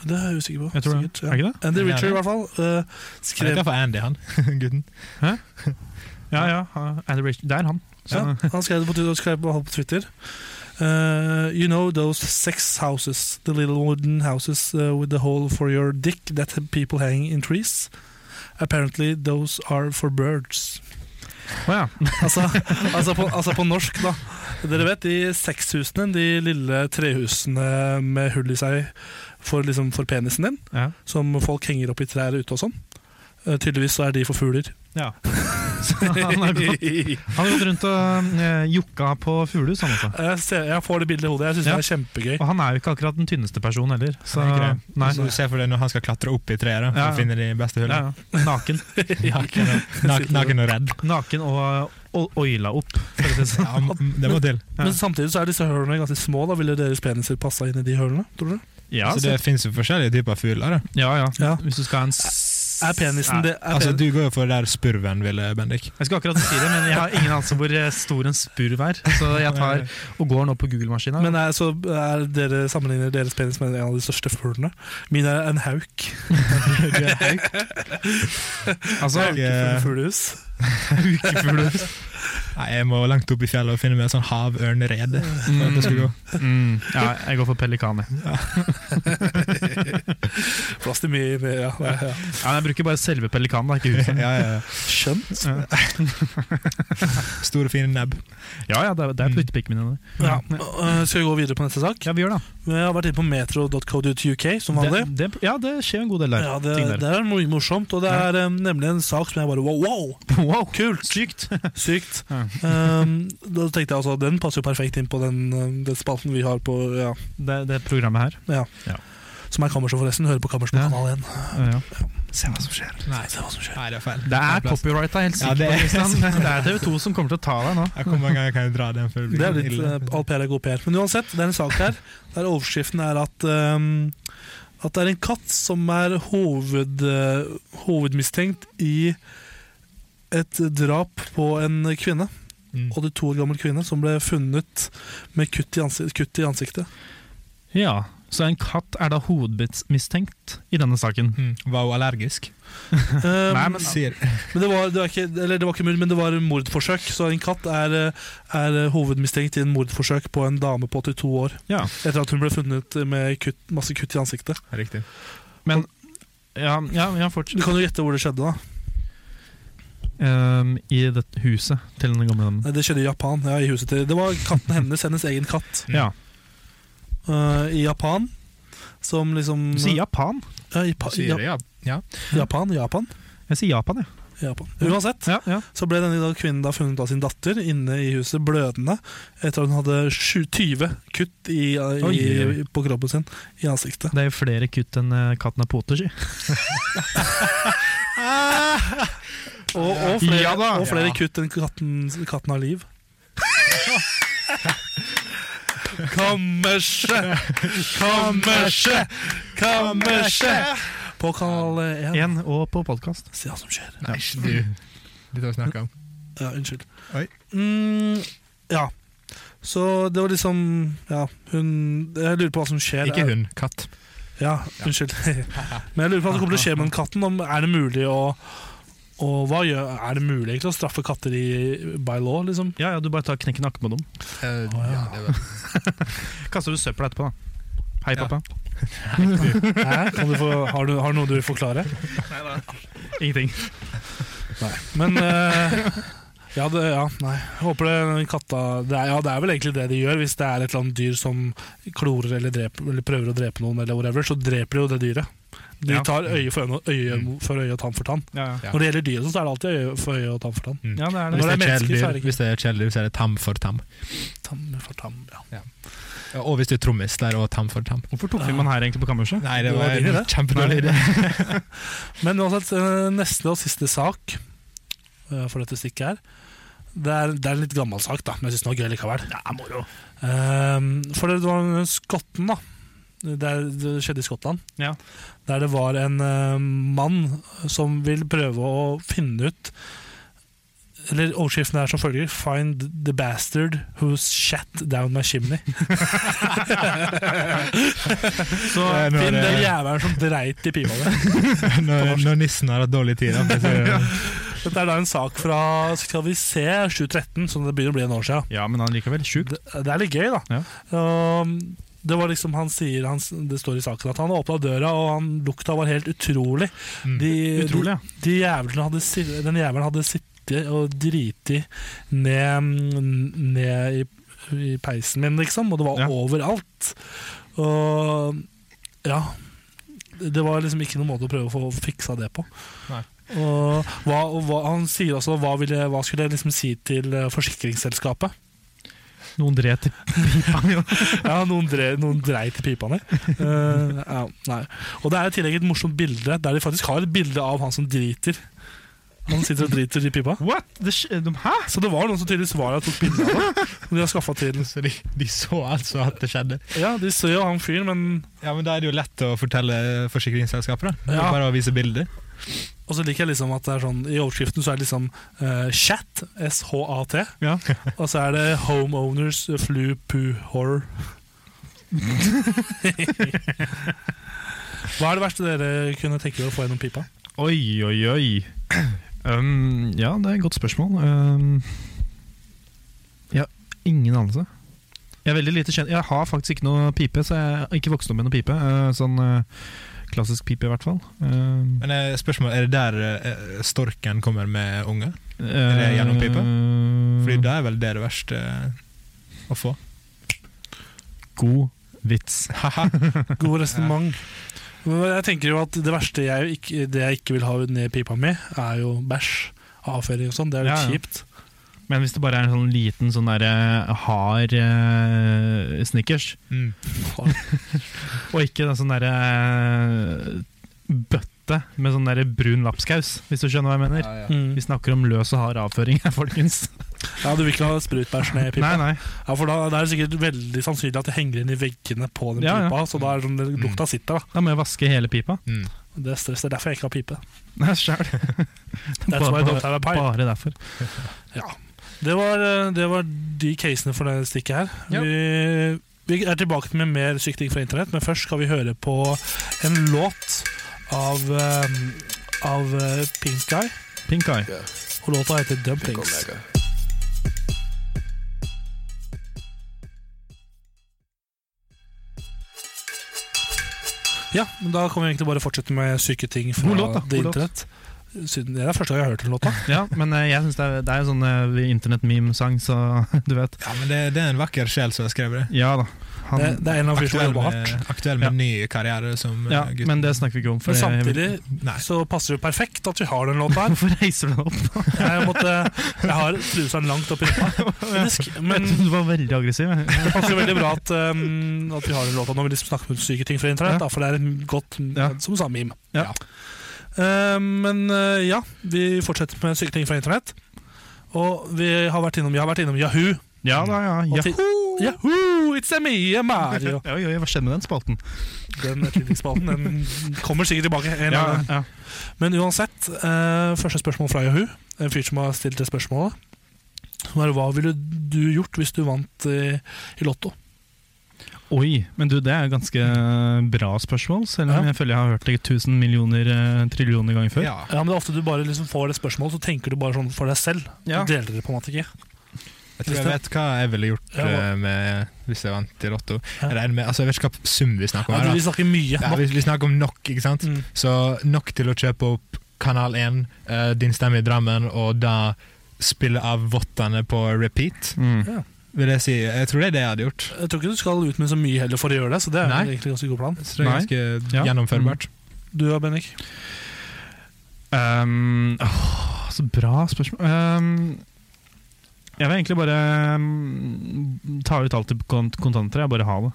S3: Det er jeg usikker på.
S2: Jeg tror det.
S3: sikkert, ja.
S2: Er det ikke det?
S3: Andy
S6: Det er
S3: Richer, i
S6: det.
S3: hvert fall. eh,
S6: Han
S3: skrev
S6: heter for Andy, han. Gutten.
S2: Ja, ja. uh, Andy Rich. Det er han. Så,
S3: Ja, han skrev det på Twitter. Skrev på på Twitter. Eh, you know those sex houses, the little wooden houses eh, with the hole for your dick that people hang in trees? Apparently those are for birds.
S2: Å ja. Mm.
S3: Altså, altså, på, altså på norsk, da. Dere vet de sexhusene, de lille trehusene med hull i seg for, liksom, for penisen din,
S2: ja.
S3: som folk henger opp i trær ute og sånn. Eh, tydeligvis så er de for fugler.
S2: Ja. Så han har gått, han har gått rundt og eh, jokka på fuglehus, han også.
S3: Jeg, ser, jeg får det bildet i hodet, jeg syns
S2: Ja.
S3: det er kjempegøy.
S2: Og han er jo ikke akkurat den tynneste personen heller. Så,
S6: Han er ikke
S2: nei.
S6: Så du ser for deg når han skal klatre opp i treet da, for
S2: Ja.
S6: å finne de
S2: Ja,
S6: beste hullene.
S2: ja. Naken.
S6: Naken, og- nak- naken og redd.
S2: Naken og, og oila opp, for å si det sånn.
S6: Ja, m- det må til.
S2: Ja.
S3: Men samtidig så er disse hølene ganske små. da Ville deres peniser passa inn i de hølene? tror du?
S2: Ja,
S6: så Altså, det fins jo forskjellige typer fugler. da.
S2: ja,
S3: Ja.
S2: ja. Hvis du skal ha en s-
S3: Er penisen det er
S6: Altså,
S3: pen
S6: du går jo for der spurven ville, Bendik.
S2: Jeg skulle akkurat si det, men jeg har ingen anelse hvor eh, stor en spurv er. Så jeg tar og går nå på Google-maskina.
S3: Men er, så er dere sammenligner deres penis med en av de største fuglene? Min er en hauk.
S6: Du er høy.
S2: Altså,
S6: Jeg, eh,
S3: Ikke fuglehus.
S2: ukefuglehus.
S6: Nei, jeg må langt opp i fjellet og finne meg en sånn havørnrede. for at det skal gå.
S2: Mm, ja, jeg går for pelikan. jeg.
S3: Plass til mye mer, ja. ja, ja.
S2: Ja, jeg bruker bare selve pelikanen, da, ikke huset.
S6: Ja, ja, ja.
S3: Skjønt.
S6: Store, fine nebb.
S2: Ja, ja, det er, det er puttepikene mine. det.
S3: Ja. øh, Skal vi gå videre på neste sak?
S2: Ja, vi gjør det.
S3: Jeg har vært inne på metro.co.uk som vanlig.
S2: Det, det, ja, det skjer en god del der.
S3: Ja, det,
S2: ting der.
S3: det er mo- morsomt, og det er eh, nemlig en sak som jeg bare wow, wow!
S2: Wow, kult! Sykt!
S3: Sykt.
S2: Ja.
S3: Um, da tenkte jeg altså, Den passer jo perfekt inn på den, eh, den spalten vi har på ja,
S2: Det, det programmet her.
S3: Som er Kammerset, forresten. Hører på Kammerset på
S2: Ja.
S3: Kanal
S2: Ja.
S3: 1. Se hva som skjer. Nei, se hva som skjer.
S6: Nei, det er feil.
S2: Det er copyrighta, helt
S6: Ja,
S2: sikkert.
S6: det er-
S2: det, det er TV2 som kommer til å ta deg nå.
S6: Ja, Hvor mange ganger kan jeg dra den før det eh, blir
S3: Det er litt
S6: ille?
S3: eh, All PR er god PR. Men uansett, det er en sak her der overskriften er at um, at det er en katt som er hoved, eh, hovedmistenkt i et drap på en kvinne.
S6: Mm.
S3: 82 år gammel kvinne som ble funnet med kutt i, ansi- kutt i ansiktet.
S2: Ja, så en katt er da hovedmistenkt i denne saken.
S6: Mm. Var hun allergisk?
S3: Eh,
S2: Nei,
S3: men,
S2: men-
S6: Sier
S3: det var, det var ikke, eller det var ikke mord, men det var mordforsøk. Så en katt er, eh, er hovedmistenkt i en mordforsøk på en dame på 82 år.
S2: Ja.
S3: Etter at hun ble funnet med kutt, masse kutt i ansiktet.
S6: Riktig.
S2: Men Ja, ja, ja
S3: Du
S2: fortsett.
S3: kan jo gjette hvor det skjedde. da
S2: Ehm, I dette huset til den gamle damen.
S3: Nei, Det skjedde i Japan. ja, i huset til Det var katten hennes, hennes egen katt,
S2: Ja.
S3: eh, i Japan. Som liksom
S2: Du sier Japan?
S3: Ja, i pa,
S6: Sier
S3: ja,
S6: det, ja. ja.
S3: Japan, Japan,
S2: Jeg sier Japan, jeg.
S3: Japan. Uansett,
S2: Ja, ja.
S3: så ble denne da kvinnen da funnet av sin datter inne i huset blødende etter at hun hadde sju- 20 kutt i, eh, i,
S2: Oi.
S3: på kroppen sin, i ansiktet.
S2: Det er jo flere kutt enn eh, katten har poter, si.
S3: Og, og flere,
S2: Ja da.
S3: og flere
S6: Ja.
S3: kutt enn katten, katten har liv. Kammerset, kammerset, kammerset! På kanal 1.
S2: Én, og på podkast.
S3: Se hva som skjer.
S6: Nei, du. Dette har vi snakka om.
S3: Ja, unnskyld.
S6: Oi.
S3: Mm, ja. Så det var liksom Ja, hun Jeg lurer på hva som skjer.
S6: Ikke hun, katt.
S3: Ja, unnskyld. Men jeg lurer på hva som kommer til å skje med den katten. Om, er det mulig å og hva gjør, Er det mulig egentlig å straffe katter i, by law, liksom?
S2: Ja, ja, du bare tar knekken nakken på dem.
S6: Eh, ja, det var
S2: Kaster du søppel etterpå, da. Hei,
S6: Ja.
S2: pappa.
S3: Hæ? Kan du få, har, du, har du noe du vil forklare?
S2: Ingenting.
S3: Men eh, ja, det, ja, nei. Jeg håper det katta det er, Ja, det er vel egentlig det de gjør. Hvis det er et eller annet dyr som klorer eller, dreper, eller prøver å drepe noen, eller whatever, så dreper de jo det dyret. De
S2: Ja.
S3: tar øye for øye, øye for øye og tann for tann.
S2: Ja, ja.
S6: Ja.
S3: Når det gjelder dyret, så er det alltid øye for øye og tann for tann.
S2: ja det er det.
S6: Hvis
S3: Når
S6: det er
S3: det er mennesker, så er
S6: kjæledyr,
S3: det ikke-
S6: hvis det er kjæledyr, så er det tam for tam.
S3: Tann for tann, ja.
S6: Ja, Og hvis du er trommis, der er også tam for tam.
S2: Hvorfor tok vi man her egentlig på kammerset?
S6: Nei,
S3: det var en
S6: kjempedårlig idé.
S3: Men uansett, eh, neste og siste sak eh, for dette stikket her det er, det er en litt gammel sak, da, men jeg syns den var gøy likevel. Eh, for det var en skotten, da. Det, er, det skjedde i Skottland.
S2: Ja.
S3: Der det var en eh, mann som vil prøve å finne ut Eller overskriften er som følger Find the bastard who's shat down my chimney. Så
S6: Ja, nå er
S3: finn
S6: det-
S3: den jævelen som dreit i pipa di.
S6: Når, når nissen har hatt dårlig tid. Da, så,
S3: Dette er da en sak fra skal vi se, 2013, som det begynner å bli en år siden.
S2: Ja, men han likevel. Sjukt.
S3: Det, det er litt gøy, da.
S2: Ja.
S3: Um, det var liksom, han sier, han, s- det står i saken at han åpna døra, og han, lukta var helt utrolig.
S6: Mm.
S3: De,
S2: Utrolig, ja.
S3: De, de jævlene hadde, si- den jævelen hadde sittet og driti ned, mm, ned i, i peisen min, liksom, og det var
S2: Ja.
S3: overalt. Og ja Det var liksom ikke noen måte å prøve å få fiksa det på.
S6: Nei.
S3: Og, hva, og hva, han sier også hva, ville, hva skulle jeg liksom si til eh, forsikringsselskapet?
S2: Noen dret i pipa. jo.
S3: Ja, noen, dre, noen dreit i pipa mi. Eh, ja, nei. Og det er i tillegg et morsomt bilde der de faktisk har et bilde av han som driter. Han sitter og driter i pipa.
S2: What? Det, sk- de, hæ?
S3: Så det var noen som tydeligvis var der og tok bilde av det. Som de har skaffet til.
S6: så de, de så altså at det skjedde.
S3: Ja, de ser jo han fyren, men
S6: Ja, men Da er det jo lett å fortelle forsikringsselskapet. da. Det er
S3: Ja.
S6: Bare å vise bilder.
S3: Og så liker jeg liksom at det er sånn i overskriften så er det liksom eh, chat, S-H-A-T,
S2: Ja.
S3: og så er det homeowners flu poo horror. Hva er det verste dere kunne tenke dere å få gjennom pipa?
S2: Oi, oi, oi. Um, ja, det er et godt spørsmål. Um, jeg har ingen anelse. Jeg er veldig lite kjent. Jeg har faktisk ikke noe pipe, så jeg har ikke vokst opp med noe pipe. Eh, sånn eh, klassisk pipe, i hvert fall. Um,
S6: Men eh, spørsmål, Er det der eh, storken kommer med unger?
S2: eh,
S6: gjennom pipe? Fordi da er vel det det verste eh, å få.
S2: God vits.
S3: God resonnement. Men Jeg tenker jo at det verste jeg, ikke, det jeg ikke vil ha ned i pipa mi, er jo bæsj. Avføring og sånn. Det er jo
S2: Ja, ja.
S3: kjipt.
S2: Men hvis det bare er en sånn liten, sånn der, eh, hard eh, snickers,
S6: Mm.
S2: og ikke en sånn derre eh, bøtte med sånn derre brun lapskaus, hvis du skjønner hva jeg mener.
S3: Mm.
S2: Vi snakker om løs og hard avføring her, folkens.
S3: Ja, Du vil ikke ha sprutbæsj ned i pipa?
S2: Nei, nei.
S3: Ja, for da det er det sikkert veldig sannsynlig at det henger inn i veggene på den
S2: Ja, Mm. ja.
S3: pipa. Så da er det sånn den lukta sitter. da
S2: Da må jeg vaske hele pipa.
S6: Mm.
S3: Det er stress, det er derfor jeg ikke har pipe.
S2: Nei, sjæl.
S3: That's why I don't have a pipe.
S2: Bare derfor.
S3: Det var, eh, det var de casene for det stikket her.
S2: Ja.
S3: Vi, vi er tilbake med mer sykt ting fra internett, men først skal vi høre på en låt av, eh, av eh, Pink Guy.
S2: Pink eye.
S3: Og låta heter Dumplings. Ja, men da kan vi egentlig bare fortsette med syke ting fra
S2: God låt, da.
S3: det
S2: God låt.
S3: internett. Siden det er første gang jeg har hørt den låta.
S2: Ja, men eh, jeg syns det er, det er jo sånn eh, internett-meme-sang, så du vet.
S6: Ja, men det, det er en vakker sjel som har skrevet det.
S2: Ja da. Han,
S3: Det, det er en av de som
S6: Aktuell
S3: jobber
S6: med,
S3: hardt.
S6: aktuell med ny karriere som eh,
S2: ja,
S6: gutt.
S2: men det snakker vi ikke om. eh,
S3: Men
S2: jeg-
S3: samtidig
S6: Nei.
S3: så passer det perfekt at vi har den låta her.
S2: Hvorfor reiser du deg opp?
S3: Jeg, måtte, jeg har truseren langt opp i rumpa. faktisk. Men
S2: Jeg trodde du var veldig aggressiv. jeg.
S3: det passer veldig bra at, um, at vi har den låta når vi liksom snakker om syke ting fra internett,
S2: Ja.
S3: da, for det er en godt
S2: Ja.
S3: som samme meme.
S2: Ja.
S3: Eh, men eh, ja, vi fortsetter med syke ting fra internett. Og vi har vært innom, jeg har vært innom Yahoo.
S2: Ja da, ja.
S3: Og
S2: ja.
S3: til- Yahoo! It's a me, Mario!
S2: Oi, oi, hva skjedde med den spalten?
S3: Den etterligningsspalten den kommer sikkert tilbake. En eller
S2: Ja,
S3: annen gang.
S2: ja.
S3: Men uansett, eh, første spørsmål fra Yahoo. En fyr som har stilt det spørsmålet. Som er, hva ville du gjort hvis du vant eh, i Lotto?
S2: Oi, men du, det er jo ganske bra spørsmål, selv om
S3: Ja.
S2: jeg føler jeg har hørt det tusen millioner eh, trillioner ganger før.
S6: Ja.
S3: Ja, men det er ofte du bare liksom får det spørsmålet, så tenker du bare sånn for deg selv.
S2: Ja.
S3: Du deler det på en måte ikke.
S6: Jeg tror jeg vet hva jeg ville gjort
S3: Ja, hva-
S6: eh, med, hvis jeg vant i Lotto.
S3: Ja.
S6: Jeg regner med, altså, jeg vet ikke hva sum vi snakker om.
S3: Ja,
S6: her
S3: du,
S6: da.
S3: vi snakker mye.
S6: Ja,
S3: Nå-
S6: vi, vi snakker om nok, ikke sant?
S3: Mm.
S6: Så nok til å kjøpe opp Kanal 1, eh, Din stemme i Drammen, og da spille av vottene på repeat.
S2: Mm.
S6: Vil jeg si. Jeg tror det er det jeg hadde gjort.
S3: Jeg tror ikke du skal ut med så mye heller for å gjøre det, så det er
S6: Nei.
S3: egentlig ganske god plan.
S6: Så det er
S2: Nei.
S6: ganske
S2: Ja. Mm.
S6: gjennomførbart.
S3: Du da, Bennik?
S2: Um, åh, så bra spørsmål. Um, jeg vil egentlig bare um, ta ut alt i kont kontanter. Jeg bare ha det.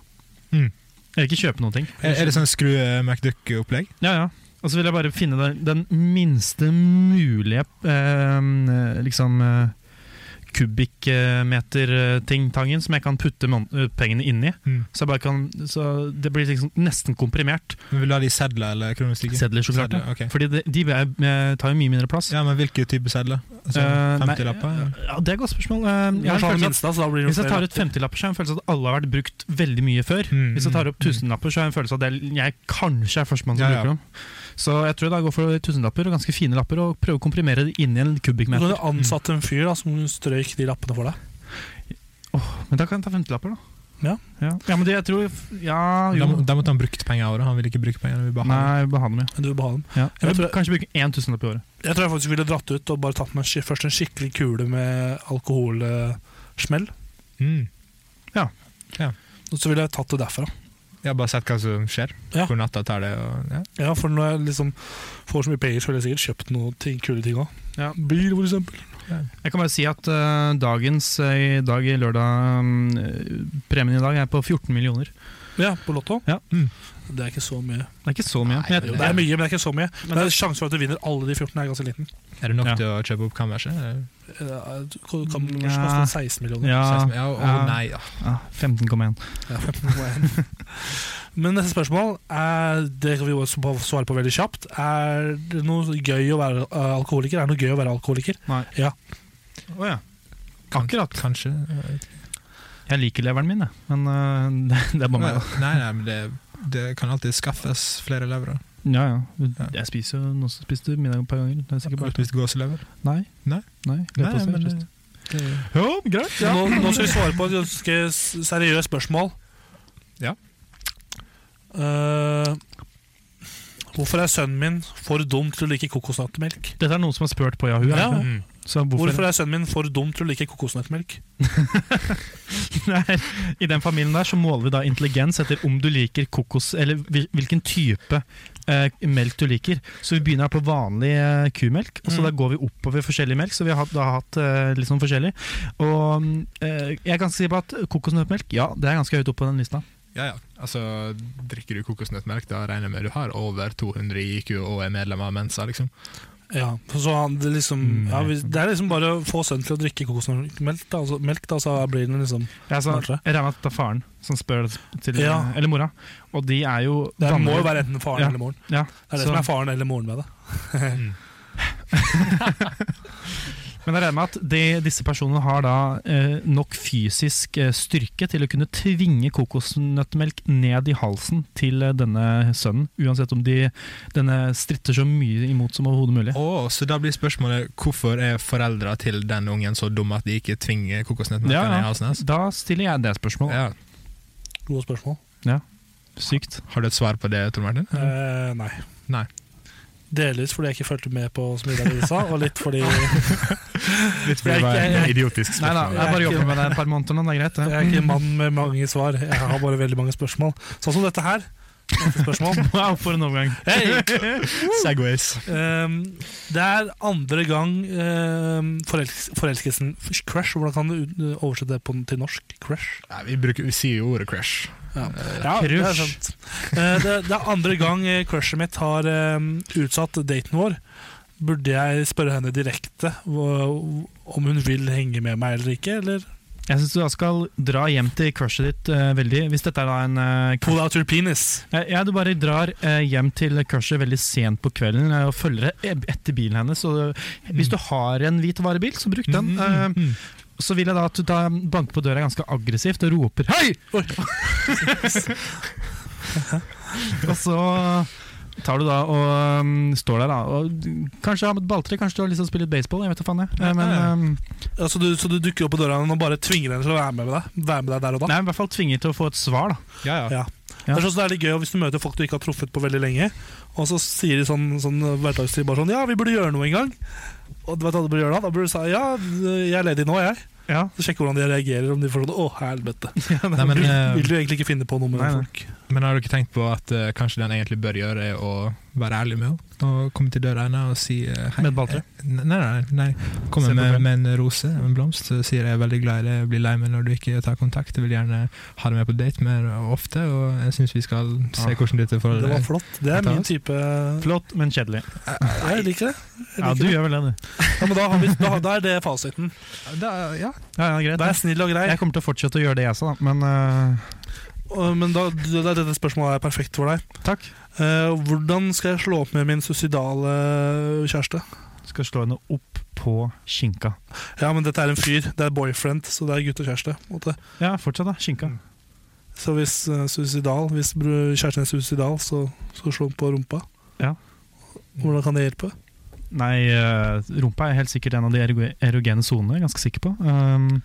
S6: Mm.
S2: Jeg vil ikke kjøpe noen ting.
S6: Er, er det sånn skru eh, McDuck-opplegg?
S2: Ja, ja. Og så vil jeg bare finne den, den minste mulige eh, liksom eh, kubikkmeter-ting-tangen som jeg kan putte mon- eh, pengene inn i.
S6: Mm.
S2: Så, jeg bare kan, så det blir liksom nesten komprimert.
S6: Men Vil du ha de sedler eller kronestykker?
S2: Sedler, så klart.
S6: Sedler,
S2: ja.
S6: ok.
S2: Fordi de, de vil jeg- eh, tar jo mye mindre plass.
S6: Ja, men hvilke type sedler? Altså,
S2: Eh, nei,
S6: 50-lapper? eller?
S2: Ja, det er et godt spørsmål. Eh, jeg har en
S3: Kanskje han
S2: følelse
S3: er
S2: at-
S3: minst, da, så da blir det
S2: hvis jeg
S3: flere.
S2: tar ut 50-lapper, så har jeg en følelse at alle har vært brukt veldig mye før.
S6: Mm,
S2: Hvis jeg tar opp
S6: mm,
S2: 1000-lapper, så har jeg en følelse av at jeg, jeg kanskje er førstemann som
S6: Ja, ja.
S2: bruker dem. Så jeg tror jeg da går for 1000-lapper, og ganske fine lapper, og prøver å komprimere det inn i en
S3: Du kan
S2: kubikkmeter.
S3: jo ansette en fyr da, som strøyk de lappene for deg.
S2: Men da kan jeg ta 50-lapper, da.
S3: Ja.
S2: ja. Ja, men det jeg tror Ja,
S6: Hmm. Da, må-
S2: jo.
S6: da måtte han brukt penger også, da. Han ville ikke bruke penger. Han ville bare ha
S2: Nei, behandle meg.
S3: Men du vil beha dem.
S2: Ja.
S3: Jeg
S2: Jeg vil
S3: tror-
S2: kanskje bruke én tusenlapp i året.
S3: Jeg tror jeg faktisk ville dratt ut og bare tatt meg en skik- først en skikkelig kule med alkoholsmell.
S6: det. Mm.
S3: Og så ville jeg tatt det derfra.
S6: Jeg har bare sett hva som skjer.
S3: Ja.
S6: Hvor natta tar det. Og, ja.
S3: Ja, For når jeg liksom får så mye penger, så ville jeg sikkert kjøpt noen ting, kule ting òg.
S2: Ja.
S3: Bil, for eksempel.
S2: Jeg kan bare si at eh, dagens eh, i dag, i lørdag mm, Premien i dag er på 14 millioner.
S3: Ja, på Lotto.
S2: Ja.
S6: Mm.
S3: Det er ikke så mye.
S2: Det er ikke så mye.
S6: Nei,
S2: Men
S3: Det
S2: jeg,
S3: er mye, men det er ikke så mye. Men det er Sjansen for at du vinner alle de 14 er ganske liten.
S6: Er det nok
S2: Ja.
S6: til å kjøpe opp kammerset? eller?
S3: Eh, Du kan kan
S2: Ja.
S3: kanskje koste 16 millioner.
S2: ja,
S6: 16? Ja, å,
S2: ja.
S6: nei, ja.
S2: ja, 15,1.
S3: Men neste spørsmål, er, det kan vi jo svare på veldig kjapt. Er det noe gøy å være eh, alkoholiker? Er det noe gøy å være alkoholiker?
S2: Oh, ja.
S6: Kan-
S2: Akkurat.
S6: Kanskje. eh,
S2: Jeg liker leveren min, jeg. Men øh, det, det er bare meg. da.
S6: Nei, nei, men det, det kan alltid skaffes flere leverer.
S2: Ja, ja. Jeg spiser jo noe som spiste middag et par ganger. Det er sikkert bare
S6: Har du spist gåselever?
S2: Nei.
S6: Nei?
S2: Nei,
S6: Nei,
S2: leverpostei,
S6: men
S2: faktisk.
S6: det, det,
S2: Jo, greit. Ja.
S3: Nå, nå skal vi svare på et ganske s- seriøst spørsmål.
S6: Ja.
S3: Eh, hvorfor er sønnen min for dum til å like kokosnøttmelk?
S2: Dette er noen som har spurt på Yahoo.
S3: Ja.
S2: Ja. Så hvorfor,
S3: Hvorfor er sønnen min for dum til å like kokosnøttmelk?
S2: Nei, I den familien der så måler vi da intelligens etter om du liker kokos Eller hvil- hvilken type eh, melk du liker. Så vi begynner på vanlig eh, kumelk, og så
S3: Mm.
S2: da går vi oppover forskjellig melk. Så vi har hatt- da hatt eh, litt sånn forskjellig. Og mm, eh, jeg er ganske sikker på at kokosnøttmelk Ja, det er ganske høyt oppe på den lista.
S6: Ja, ja. Altså, drikker du kokosnøttmelk, da regner jeg med du har over 200 i IQ og er medlem av Mensa, liksom.
S3: Ja, så han, det, liksom,
S2: Mm.
S3: ja, vi- det er liksom bare å få sønnen til å drikke kokosmelk, da, altså, melk, da, så blir den liksom
S2: Ja, så, jeg
S3: Smartere.
S2: regner med at det er faren som spør det til
S3: Ja.
S2: Eller mora. Og de er jo
S3: Det er, må
S2: vanlige-
S3: jo være enten faren
S2: Ja.
S3: eller moren.
S2: ja,
S3: Det er det
S2: så-
S3: som er faren eller moren med det.
S2: Men jeg regner med at de, disse personene har da eh, nok fysisk eh, styrke til å kunne tvinge kokosnøttmelk ned i halsen til eh, denne sønnen, uansett om de, denne stritter så mye imot som overhodet mulig.
S6: Å, så da blir spørsmålet hvorfor er foreldra til den ungen så dumme at de ikke tvinger kokosnøttmelk
S2: Ja,
S6: ned i
S2: ja.
S6: halsen hans?
S2: Da stiller jeg det spørsmålet.
S6: Ja.
S3: Gode spørsmål.
S2: Sykt.
S6: Har du et svar på det, Tor Martin?
S3: Eh, nei.
S6: Nei.
S3: Delvis fordi jeg ikke fulgte med på så mye der de sa, og litt fordi
S6: Litt
S3: Jeg- jeg- jeg-
S6: idiotisk
S2: Nei da, jeg
S3: er
S2: bare
S3: ikke-
S2: jobber med det et par måneder nå, det er greit.
S3: jeg er ikke en mann med mange svar. Jeg har bare veldig mange spørsmål. Sånn som dette her. Neste spørsmål.
S2: Wow, for en overgang.
S3: Hei!
S6: Segways.
S3: Ehm, det er andre gang ehm, forelsk forelskelsen Crush, hvordan kan du ut- eh, oversette det på, til norsk? Crush?
S6: Nei, vi, bruker, vi sier jo ordet crush.
S3: Ja, det er
S2: crush.
S3: sant. Eh, det, det er andre gang eh, crushet mitt har ehm, utsatt daten vår. Burde jeg spørre henne direkte hva- om hun vil henge med meg eller ikke? Eller?
S2: Jeg syns du da skal dra hjem til crushet ditt eh, veldig Hvis dette er da en eh,
S3: Pull out your penis.
S2: Eh, Ja, du bare drar eh, hjem til crushet veldig sent på kvelden eh, og følger e- etter bilen hennes. Og eh, hvis du har en hvit varebil, så bruk
S6: Mm,
S2: den. Eh, Så vil jeg da at du da banker på døra ganske aggressivt og roper 'hei!'
S3: Oi.
S2: og så tar du da og um, står der, da. Og kanskje har med et balltre, kanskje du har lyst til å spille litt baseball. Jeg vet da faen, jeg. Eh, Men,
S6: Ja,
S2: um,
S3: Altså, du, så du dukker opp på døra og bare tvinger henne til å være med deg, være med deg der og da?
S2: nei, i hvert fall tvinger til å få et svar, da.
S6: Ja, ja.
S2: Ja.
S3: Det er sånn som det er litt gøy hvis du møter folk du ikke har truffet på veldig lenge, og så sier de sånn, sånn hverdagstid bare sånn Ja, vi burde gjøre noe en gang. Og du vet hva du burde gjøre da? Da burde du si ja, jeg er ledig nå, jeg.
S2: Ja.
S3: Så Sjekke hvordan de reagerer, om de får sånn å, helvete.
S6: Nei, men,
S3: vil,
S6: eh,
S3: vil du egentlig ikke finne på noe med
S2: nei, nei.
S3: folk?
S6: men har du ikke tenkt på at eh, kanskje den egentlig bør gjøre er å være ærlig med henne? Og komme til døra henne og si eh, hei.
S2: Med et balltre?
S6: Eh, Nei, nei. nei. Komme
S2: Se på
S6: med,
S2: film.
S6: med en rose, en blomst, og sier jeg er veldig glad i deg, jeg blir lei meg når du ikke tar kontakt. Jeg vil gjerne ha deg med på date mer ofte, og jeg syns vi skal se
S2: Ah.
S6: hvordan dette forholdet
S3: Det var flott. Det er
S6: Dette er
S3: min
S6: oss.
S3: type
S2: Flott, men kjedelig.
S3: Jeg liker det. Jeg
S2: Ja,
S3: liker
S2: du
S3: det.
S2: gjør vel det, du.
S3: Ja, men da, har vi, da, da er det fasiten.
S6: Da, ja.
S2: Ja, ja, greit.
S3: Da er jeg snill og grei.
S2: Jeg kommer til å fortsette å gjøre det jeg sa, da. Men eh,
S3: Og- Men da, det er dette spørsmålet er perfekt for deg.
S2: takk.
S3: Eh, hvordan skal jeg slå opp med min suicidale kjæreste?
S2: Skal slå henne opp på skinka.
S3: Ja, men dette er en fyr. Det er boyfriend, så det er gutt og kjæreste. på en måte.
S2: Ja, Mm. fortsett, da. Skinka.
S3: Så hvis eh, suicidal, hvis bru- kjæresten er suicidal, så skal du slå ham på rumpa.
S2: Ja.
S3: Hvordan kan det hjelpe?
S2: Nei, eh, rumpa er helt sikkert en av de eroge- erogene sonene, jeg er ganske sikker på. Um,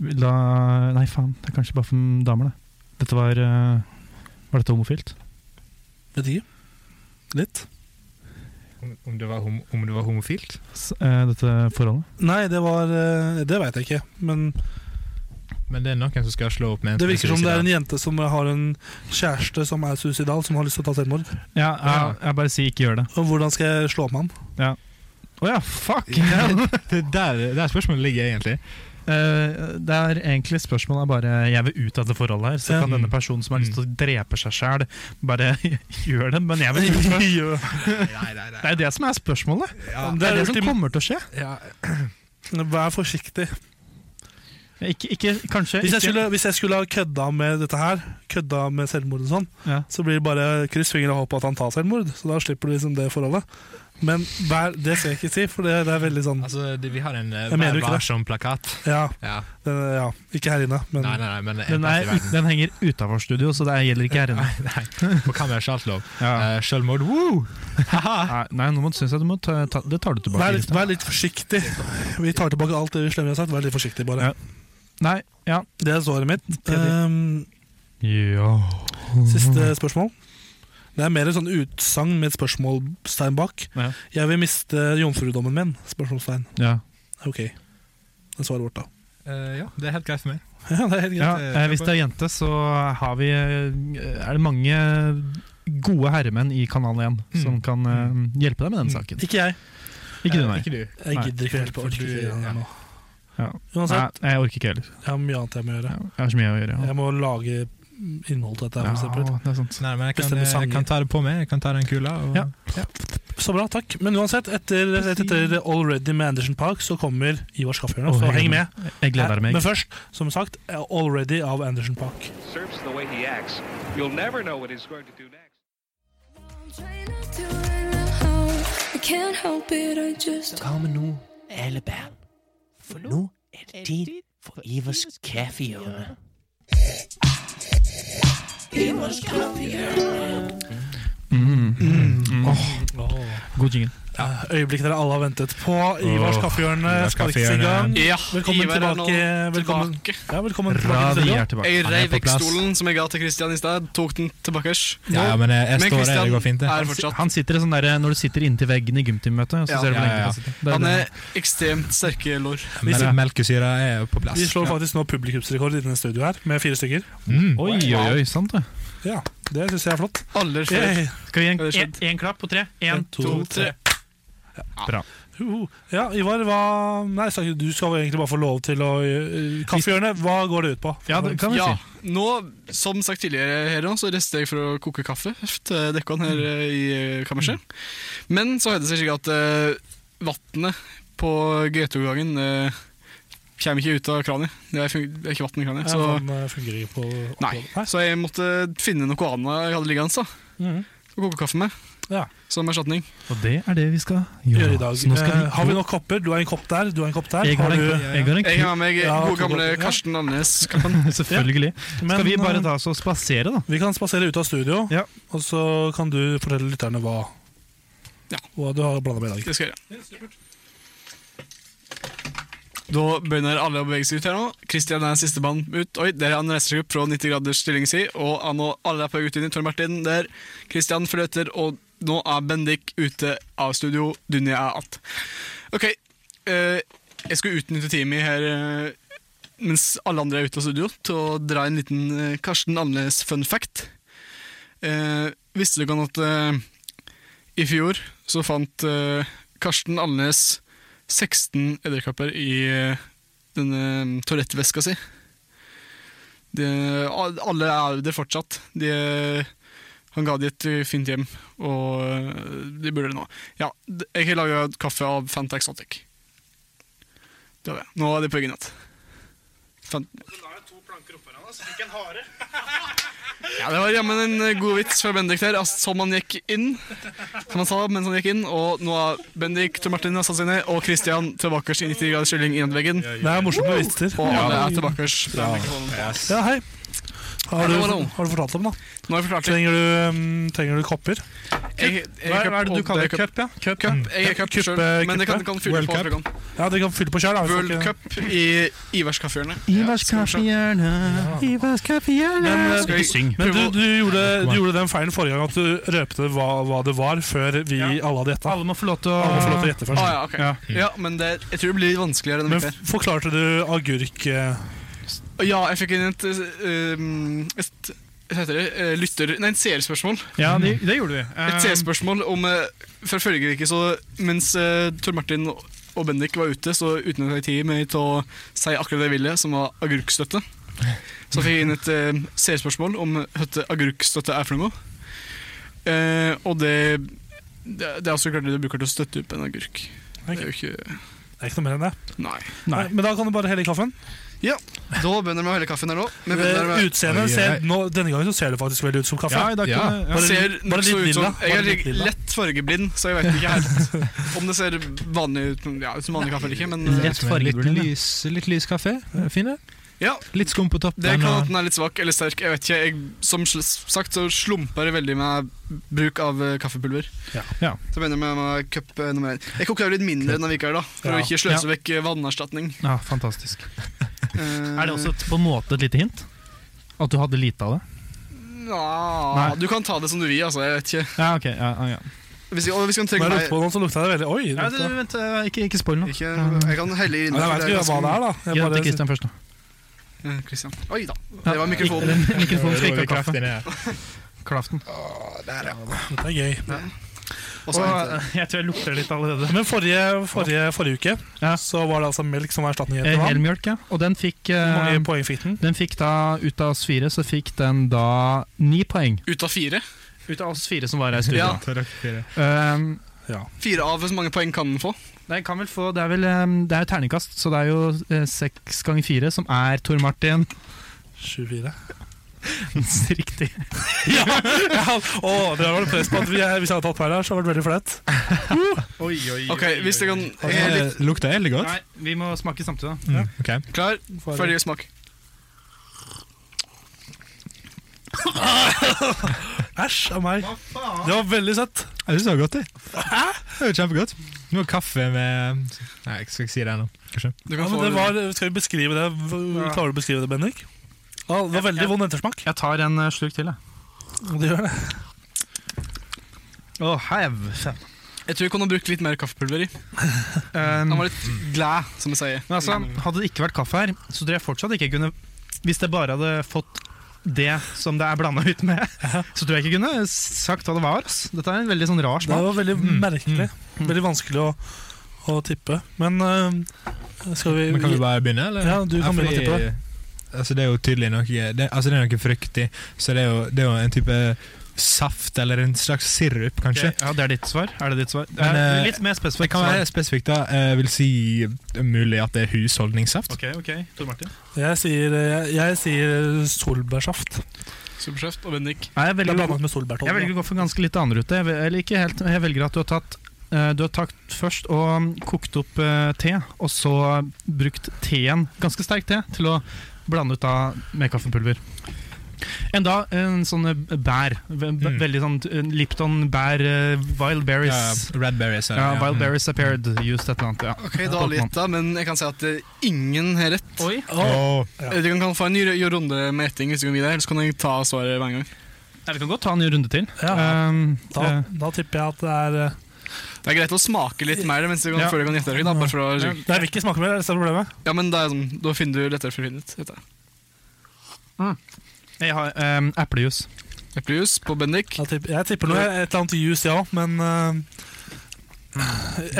S2: la Nei, faen. Det er kanskje bare for damer, det. Dette var eh, Var dette homofilt?
S3: Vet ikke. Litt.
S6: Om, om, det var hom om det var homofilt?
S2: S eh, dette forholdet?
S3: Nei, det var eh, Det veit jeg ikke. Men
S6: Men det er noen som skal slå opp med en
S3: det virker som det er
S6: spesialist
S3: en jente som har en kjæreste som er suicidal, som har lyst til å ta selvmord.
S2: Ja, jeg, jeg bare sier ikke gjør det.
S3: Og hvordan skal jeg slå opp med han?
S2: Å ja, fuck!
S6: i dag. det er der, der spørsmålet ligger, egentlig.
S2: Eh, det er egentlig spørsmålet er bare Jeg vil ut av det forholdet her, så
S3: Ja.
S2: kan denne personen som har lyst til å drepe seg sjæl, bare gjør det. Men jeg vil ut først.
S6: Nei, nei,
S2: Det er jo det som er spørsmålet.
S6: Ja,
S2: Det er det
S3: ultim-
S2: som kommer til å skje.
S6: ja.
S3: Vær forsiktig.
S2: Ikke, ikke, kanskje
S3: Hvis jeg,
S2: ikke.
S3: skulle, hvis jeg skulle ha kødda med dette her, kødda med selvmord og sånn,
S2: Ja.
S3: så blir det bare kryss fingre og håp at han tar selvmord. Så da slipper du liksom det forholdet. Men vær, det skal jeg ikke si, for det, det er veldig sånn
S6: Altså, det, vi har en eh,
S3: Jeg mener
S6: Vær
S3: ikke det.
S6: varsom-plakat.
S3: ja,
S6: Ja.
S3: det, ja, ikke her inne, men
S6: Nei, nei, nei, men en
S2: Den,
S6: plass i
S2: er,
S6: verden.
S2: den henger utafor studio, så det gjelder ikke her inne.
S6: Nei, på kamera er alt lov.
S2: Ja.
S6: Eh, selvmord, woo!
S2: Nei, Eh, nei, nå må, synes jeg du må ta, ta, det tar du tilbake.
S3: vær, litt,
S2: Kristian.
S3: vær litt forsiktig. Vi tar tilbake alt det vi slemme har sagt. Vær litt forsiktig,
S2: Ja.
S3: bare.
S2: Nei, ja.
S3: Det er svaret mitt. Ehm,
S2: ja.
S3: siste spørsmål. Det er mer et sånn utsagn med et spørsmålstegn bak.
S2: Ja.
S3: Jeg vil miste jomfrudommen min? Spørsmålstegn.
S2: ja.
S3: Ok. Det er svaret vårt, da.
S6: Eh, ja, det er helt greit for meg.
S3: Ja, det er helt greit.
S2: eh, hvis det er jente, så har vi eh, Er det mange gode herremenn i Kanal 1 som kan eh, hjelpe deg med den saken.
S3: Ikke jeg.
S2: Ikke du,
S6: Eh,
S2: nei.
S6: Ikke du.
S3: Jeg
S2: Nei.
S3: gidder ikke å hjelpe.
S6: For
S3: Orker
S6: du-
S3: ikke gjøre
S6: ja.
S3: det nå.
S2: Ja. nei.
S3: Uansett,
S2: Jeg orker ikke heller.
S3: jeg har mye annet jeg må gjøre.
S2: Ja, Jeg har så mye å gjøre. Ja.
S3: Jeg må lage innhold til dette.
S2: Ja,
S3: her, for eksempel.
S2: det er sant.
S6: Nei, men jeg kan,
S3: Bestemme
S6: jeg
S3: sanger.
S6: kan ta det på meg. Jeg kan ta den kula. Og,
S2: Ja.
S3: Så bra, takk. Men uansett, etter, etter Already med Anderson Park så kommer Ivar Skaffjørnov, så heng med.
S2: Jeg gleder meg.
S3: Men først, som sagt, eh, Already av Anderson Park.
S8: serves the way he acts, you'll never know what he's going to do next.
S9: Try not to run out. I can't help it, I just
S10: Kom nu, alle barn. For nu er det tid for Ivers kaffehjørne.
S2: God jingle.
S3: Øyeblikket dere alle har ventet på. Ivars
S6: Åh,
S3: kaffehjørne
S6: Ivars
S3: sparkes i gang.
S6: kaffehjørne.
S4: Ja,
S3: Velkommen
S4: Ivar er nå
S3: tilbake. Velkommen,
S4: tilbake.
S3: ja, velkommen
S2: Bra,
S3: tilbake til
S2: vi
S3: studio.
S2: er tilbake.
S4: Jeg
S6: Han er
S4: reiv
S6: på
S4: vekk
S6: plass.
S4: stolen som jeg ga til Christian i sted, tok den tilbake.
S6: Ja, ja, men jeg, jeg
S4: Men
S6: står her, det går fint, det.
S4: er fortsatt
S2: Han sitter i sånn der, Når du sitter inntil veggen i gymtimmøtet, så
S4: Ja.
S2: ser du hvor
S6: Ja,
S2: lenge
S6: ja, ja.
S2: du sitter. Det er
S4: Han
S2: det.
S4: er ekstremt sterke lår.
S6: Mel melkesyra er på plass.
S3: Vi slår faktisk nå publikumsrekord i denne studio her, med fire stykker.
S6: Mm.
S2: Oi, oi, oi, sant det.
S3: Ja, Det syns jeg er flott.
S4: Aller flere.
S3: Yay.
S2: Skal vi gi en,
S4: Har det skjedd?
S2: en, en klapp på tre? En, to, tre.
S3: Ho, ho. Ja, Ivar, hva Nei, Sakke, du skal jo egentlig bare få lov til å øh, Kaffehjørnet, hva går det ut på?
S2: Ja, det kan vi
S4: Ja,
S2: si.
S4: nå, som sagt tidligere her nå, så rester jeg for å koke kaffe til dekkene her eh, i eh, kammerset. Men så heter det seg slik at uh, vannet på G2-gangen eh, kommer ikke ut av kranen. Det er, fun- det er ikke vann i kranen.
S3: Så,
S4: Så,
S3: han øh, fungerer ikke på
S4: nei. så jeg måtte finne noe annet jeg hadde liggende da,
S3: Mhm.
S4: å koke kaffe med.
S3: Ja.
S4: Som erstatning.
S2: Og det er det vi skal
S3: Gjør
S2: gjøre
S3: i dag.
S2: Så nå skal vi,
S3: Eh, har vi nok kopper? Du har en kopp der, du har en kopp der.
S2: Jeg har en,
S3: du,
S2: jeg har en
S4: Jeg har med meg
S3: Ja,
S4: gode gamle
S3: koke kaffe, ja.
S4: Karsten Andenes-kaffen.
S2: Selvfølgelig.
S3: Men,
S2: Skal vi bare
S3: øh,
S2: ta oss og spasere, da?
S3: Vi kan spasere ut av studio,
S2: Ja.
S3: og så kan du fortelle lytterne hva,
S4: Ja.
S3: hva du har blanda med i dag.
S4: Det skal jeg gjøre. Da begynner alle å bevege seg ut her nå. Kristian er siste mann ut. Oi, der er han reiser seg opp fra 90 graders stilling si. Og han og alle er på vei ut inn i Tor Martin der. Kristian følger etter, og nå er Bendik ute av studio. Dunja er att. Ok, eh, jeg skulle utnytte tiden min her eh, mens alle andre er ute av studio, til å dra en liten eh, Karsten Andenes fun fact. Eh, visste du kan at eh, i fjor så fant eh, Karsten Alnes 16 edderkopper i eh, denne toalettveska si. Det, al- alle er der fortsatt. De, eh, han ga de et eh, fint hjem, og eh, de burde det nå. Ja, d- jeg har laga kaffe av Fanta Exotic. Det har jeg. Nå er de på egen natt. Ja, det var jammen en eh, god vits fra Bendik der, altså, som han gikk inn. Som han sa mens han gikk inn, og nå er Bendik, Tor Martin har satt seg ned, og Christian tilbake i 90 graders kylling inn i veggen.
S3: Det er morsomt med vitser.
S4: Og alle er tilbake. fra mikrofonen.
S3: Ja, hei. Har du,
S4: Hallo, hallo.
S3: har du fortalt dem, da?
S4: Nå har jeg forklart det.
S3: Trenger du, mm, trenger du kopper?
S4: Jeg, jeg,
S3: Hva er det du
S4: og
S3: kaller
S4: det er
S3: cup? ja? Cup, eh, ja.
S4: Jeg er cup
S3: Kuppe-
S4: selv, men det kan,
S3: kuppe?
S4: kan fylle
S6: World
S4: på.
S6: Cup.
S4: fra gang.
S3: ja, dere kan fylle på sjøl.
S4: World Cup i Ivers kaffehjørne.
S2: Ivers
S4: skal vi se.
S2: kaffehjørne, Ivers kaffehjørne
S4: Skal vi synge?
S3: Men du, du, gjorde, du gjorde den feilen forrige gang at du røpte hva, hva det var, før vi alle hadde gjetta.
S2: Alle må få lov til å
S3: Alle får lov til å gjette
S4: Å
S3: først.
S4: Ah, ja, ok.
S2: Ja.
S4: Ja, men det, jeg tror det blir vanskeligere enn
S3: Men
S4: før.
S3: f- forklarte du agurk eh,
S4: Ja, jeg fikk inn et, um, et hva heter det? Eh, Lytter... Nei, et seerspørsmål.
S2: Ja, det, det gjorde vi. Eh,
S4: Et C-spørsmål om eh, Fra forrige uke, så mens eh, Tor Martin og Bendik var ute, så uten jeg tid med til å si akkurat det jeg ville, som var agurkstøtte. Så fikk jeg inn et eh, C-spørsmål om hva agurkstøtte er for noe. Eh, og det det, det er også klart det du bruker til å støtte opp en agurk. Det er jo ikke
S3: Det er ikke noe mer enn det.
S4: Nei.
S3: Nei. Men da kan du bare helle i kaffen.
S4: Ja, da begynner vi å helle kaffen her nå. Vi begynner
S3: Eh,
S4: med
S6: Oi, oi.
S3: Utseendet ser nå, Denne gangen så ser det faktisk veldig ut som kaffe.
S2: ja, i dag
S6: Ja.
S2: kan- ja.
S3: Bare-
S4: ser
S3: bare
S4: nokså
S3: litt
S4: ut som-
S3: lilla,
S4: Jeg
S3: bare litt
S4: er
S3: lilla.
S4: lett fargeblind, så jeg vet ikke helt om det ser vanlig ut ja, ut som vanlig kaffe eller ikke. Men eh,
S2: Lett
S6: Som en Litt
S2: fargeblind, ja.
S6: lys, litt lys kaffe. eh, Fin, det.
S4: ja,
S6: Litt skum på toppen.
S4: Det kan
S6: og-
S4: at den er litt svak eller sterk. Jeg vet ikke, jeg, Som sl- sagt så slumper det veldig med bruk av eh, kaffepulver.
S3: Ja.
S2: Ja.
S4: Så begynner vi med cup eh, nummer én. Jeg koker jo litt mindre enn Avika her, da, for
S3: Ja.
S4: å ikke sløse vekk eh, vannerstatning.
S2: ja, fantastisk.
S4: Eh,
S2: Er det også et, på en måte et lite hint? At du hadde lite av det?
S4: Nja,
S2: Nei.
S4: Eh, Du kan ta det som du vil, altså. Jeg vet ikke.
S2: Ja, ok. Ja, ja, ja.
S4: Hvis jeg, og hvis jeg kan
S3: Når
S4: trekke
S3: jeg lukter
S4: meg
S3: på den, så lukta det veldig Oi! det
S2: Nei,
S3: lukta-
S2: du, vent, eh, ikke, ikke spoil noe.
S4: ikke, Jeg kan helle inn
S3: Nei, jeg vet ikke hva det er, da.
S2: Gi den
S3: Jeg bare-
S2: til Christian først, da.
S4: da. Eh, Christian. Oi da. Det var mikrofonen.
S2: Den Mikrofonen skal ikke ha
S6: Kraft
S2: kaffe.
S6: inni her.
S2: Klaften.
S3: Dette er gøy.
S4: Og så
S2: Åh, eh, jeg tror jeg lukter litt allerede.
S3: Men forrige, forrige, forrige uke
S2: Ja.
S3: så var det altså melk som var
S2: Eh,
S3: erstatningen til vann.
S2: Helmjølk, ja. Og den fikk
S3: Hvor
S2: eh,
S3: mange poeng fikk den?
S2: Den fikk da, ut av oss fire, så fikk den da ni poeng.
S4: ut av fire.
S2: Ut av oss fire som var her i studio.
S4: Ja.
S6: Så dere fire.
S2: Um,
S4: Fire av hvor mange poeng kan den få?
S2: Den kan vel få, det er vel ehm, Det er jo terningkast, så det er jo eh, seks ganger fire, som er Tor Martin.
S3: 24.
S2: Riktig.
S3: ja! ja. Å, der var det press på at vi, hvis jeg hadde tatt feil her, så hadde det vært veldig flaut.
S2: Oi, oi,
S4: Ok, hvis det kan
S3: jeg er
S4: litt...
S6: Lukter elg godt?
S2: Nei, vi må smake samtidig. da.
S6: Mm, ok.
S4: Klar, ferdig smak.
S3: Æsj av meg. Det var veldig søtt.
S6: Jeg syns det var godt, jeg. Det var kjempegodt. Det var kaffe med Nei, jeg skal ikke si det ennå, kanskje.
S4: Du
S3: Ja,
S4: kan
S3: men
S4: få
S3: det var, skal vi beskrive det? Hva-
S2: Ja.
S3: Klarer du å beskrive det, Bendik? Ja, det var veldig vond ettersmak.
S2: Jeg tar en eh, slurk til, jeg.
S3: Det gjør det.
S2: Å, hev.
S4: Jeg tror jeg kunne ha brukt litt mer kaffepulver i.
S2: Um,
S4: Han var litt glad, som jeg sier.
S2: Men altså, Hadde det ikke vært kaffe her, så tror jeg fortsatt ikke jeg kunne Hvis jeg bare hadde fått det som det er blanda ut med, så tror jeg ikke jeg kunne sagt hva det var. Ass. Dette er en veldig sånn rar
S3: Det
S2: smak.
S3: var veldig merkelig. Veldig vanskelig å, å tippe. Men øh, skal vi,
S6: Men kan vi bare begynne, eller?
S3: Ja, du kan begynne å
S6: fordi-
S3: tippe det.
S6: Altså, det er jo tydelig noe det, Altså, det er noe fruktig, så det er jo, det er jo en type saft, eller en slags sirup, kanskje.
S2: Ok, Ja, Det er ditt svar. Er det ditt svar?
S6: Men,
S2: Eh,
S6: eh,
S2: litt mer
S6: Det
S2: spesifikt
S6: kan være
S2: svar.
S6: spesifikt, da. Eh, Jeg vil si eh, mulig at det er husholdningssaft.
S2: Ok, ok, Tor Martin.
S3: Jeg sier, jeg, jeg sier solbærsaft.
S4: Superskjeft og Bendik.
S2: Nei, jeg,
S3: Det er
S2: velger, å gå-
S3: blandet med solbærtolv.
S2: jeg velger å gå for en ganske litt annen rute. Jeg, vel- eller ikke helt, jeg velger at du har tatt eh, du har tatt først og kokt opp eh, te, og så brukt teen, ganske sterk te, til å blande ut da med kaffepulver. Enda en sånn eh, bær. Ve- ve-
S6: Mm.
S2: Veldig sånn eh, Lipton bær, eh, Wild
S6: Ja,
S2: Berries.
S6: Red berries.
S2: Ja, Mm.
S6: ja.
S2: Wild Berries appeared, used et eller annet. Ja.
S4: Ok, da har jeg gjetta, men jeg kan si at eh, ingen har rett. Eh,
S2: Oi.
S6: Mm. Åh.
S4: Du kan kan få en ny r- runde med gjetting, hvis du kan gi deg, eller så kan jeg ta svaret hver gang.
S2: Ja, vi kan godt ta en ny runde til.
S3: Ja.
S2: Um,
S3: Da,
S2: eh,
S3: da tipper jeg at det er øh,
S4: Det er greit å smake litt mer mens du kan,
S2: Ja.
S4: før du kan gjette deg. Da, bare for å være sikker.
S3: Nei, jeg vil ikke smake mer, er det som er problemet?
S4: ja, men det er sånn, da finner du lettere for å finne ut. vet jeg.
S2: jeg har um, eplejus.
S4: Eplejus på Bendik.
S3: Da tipper, jeg tipper noe, et eller annet juice, ja, men øh,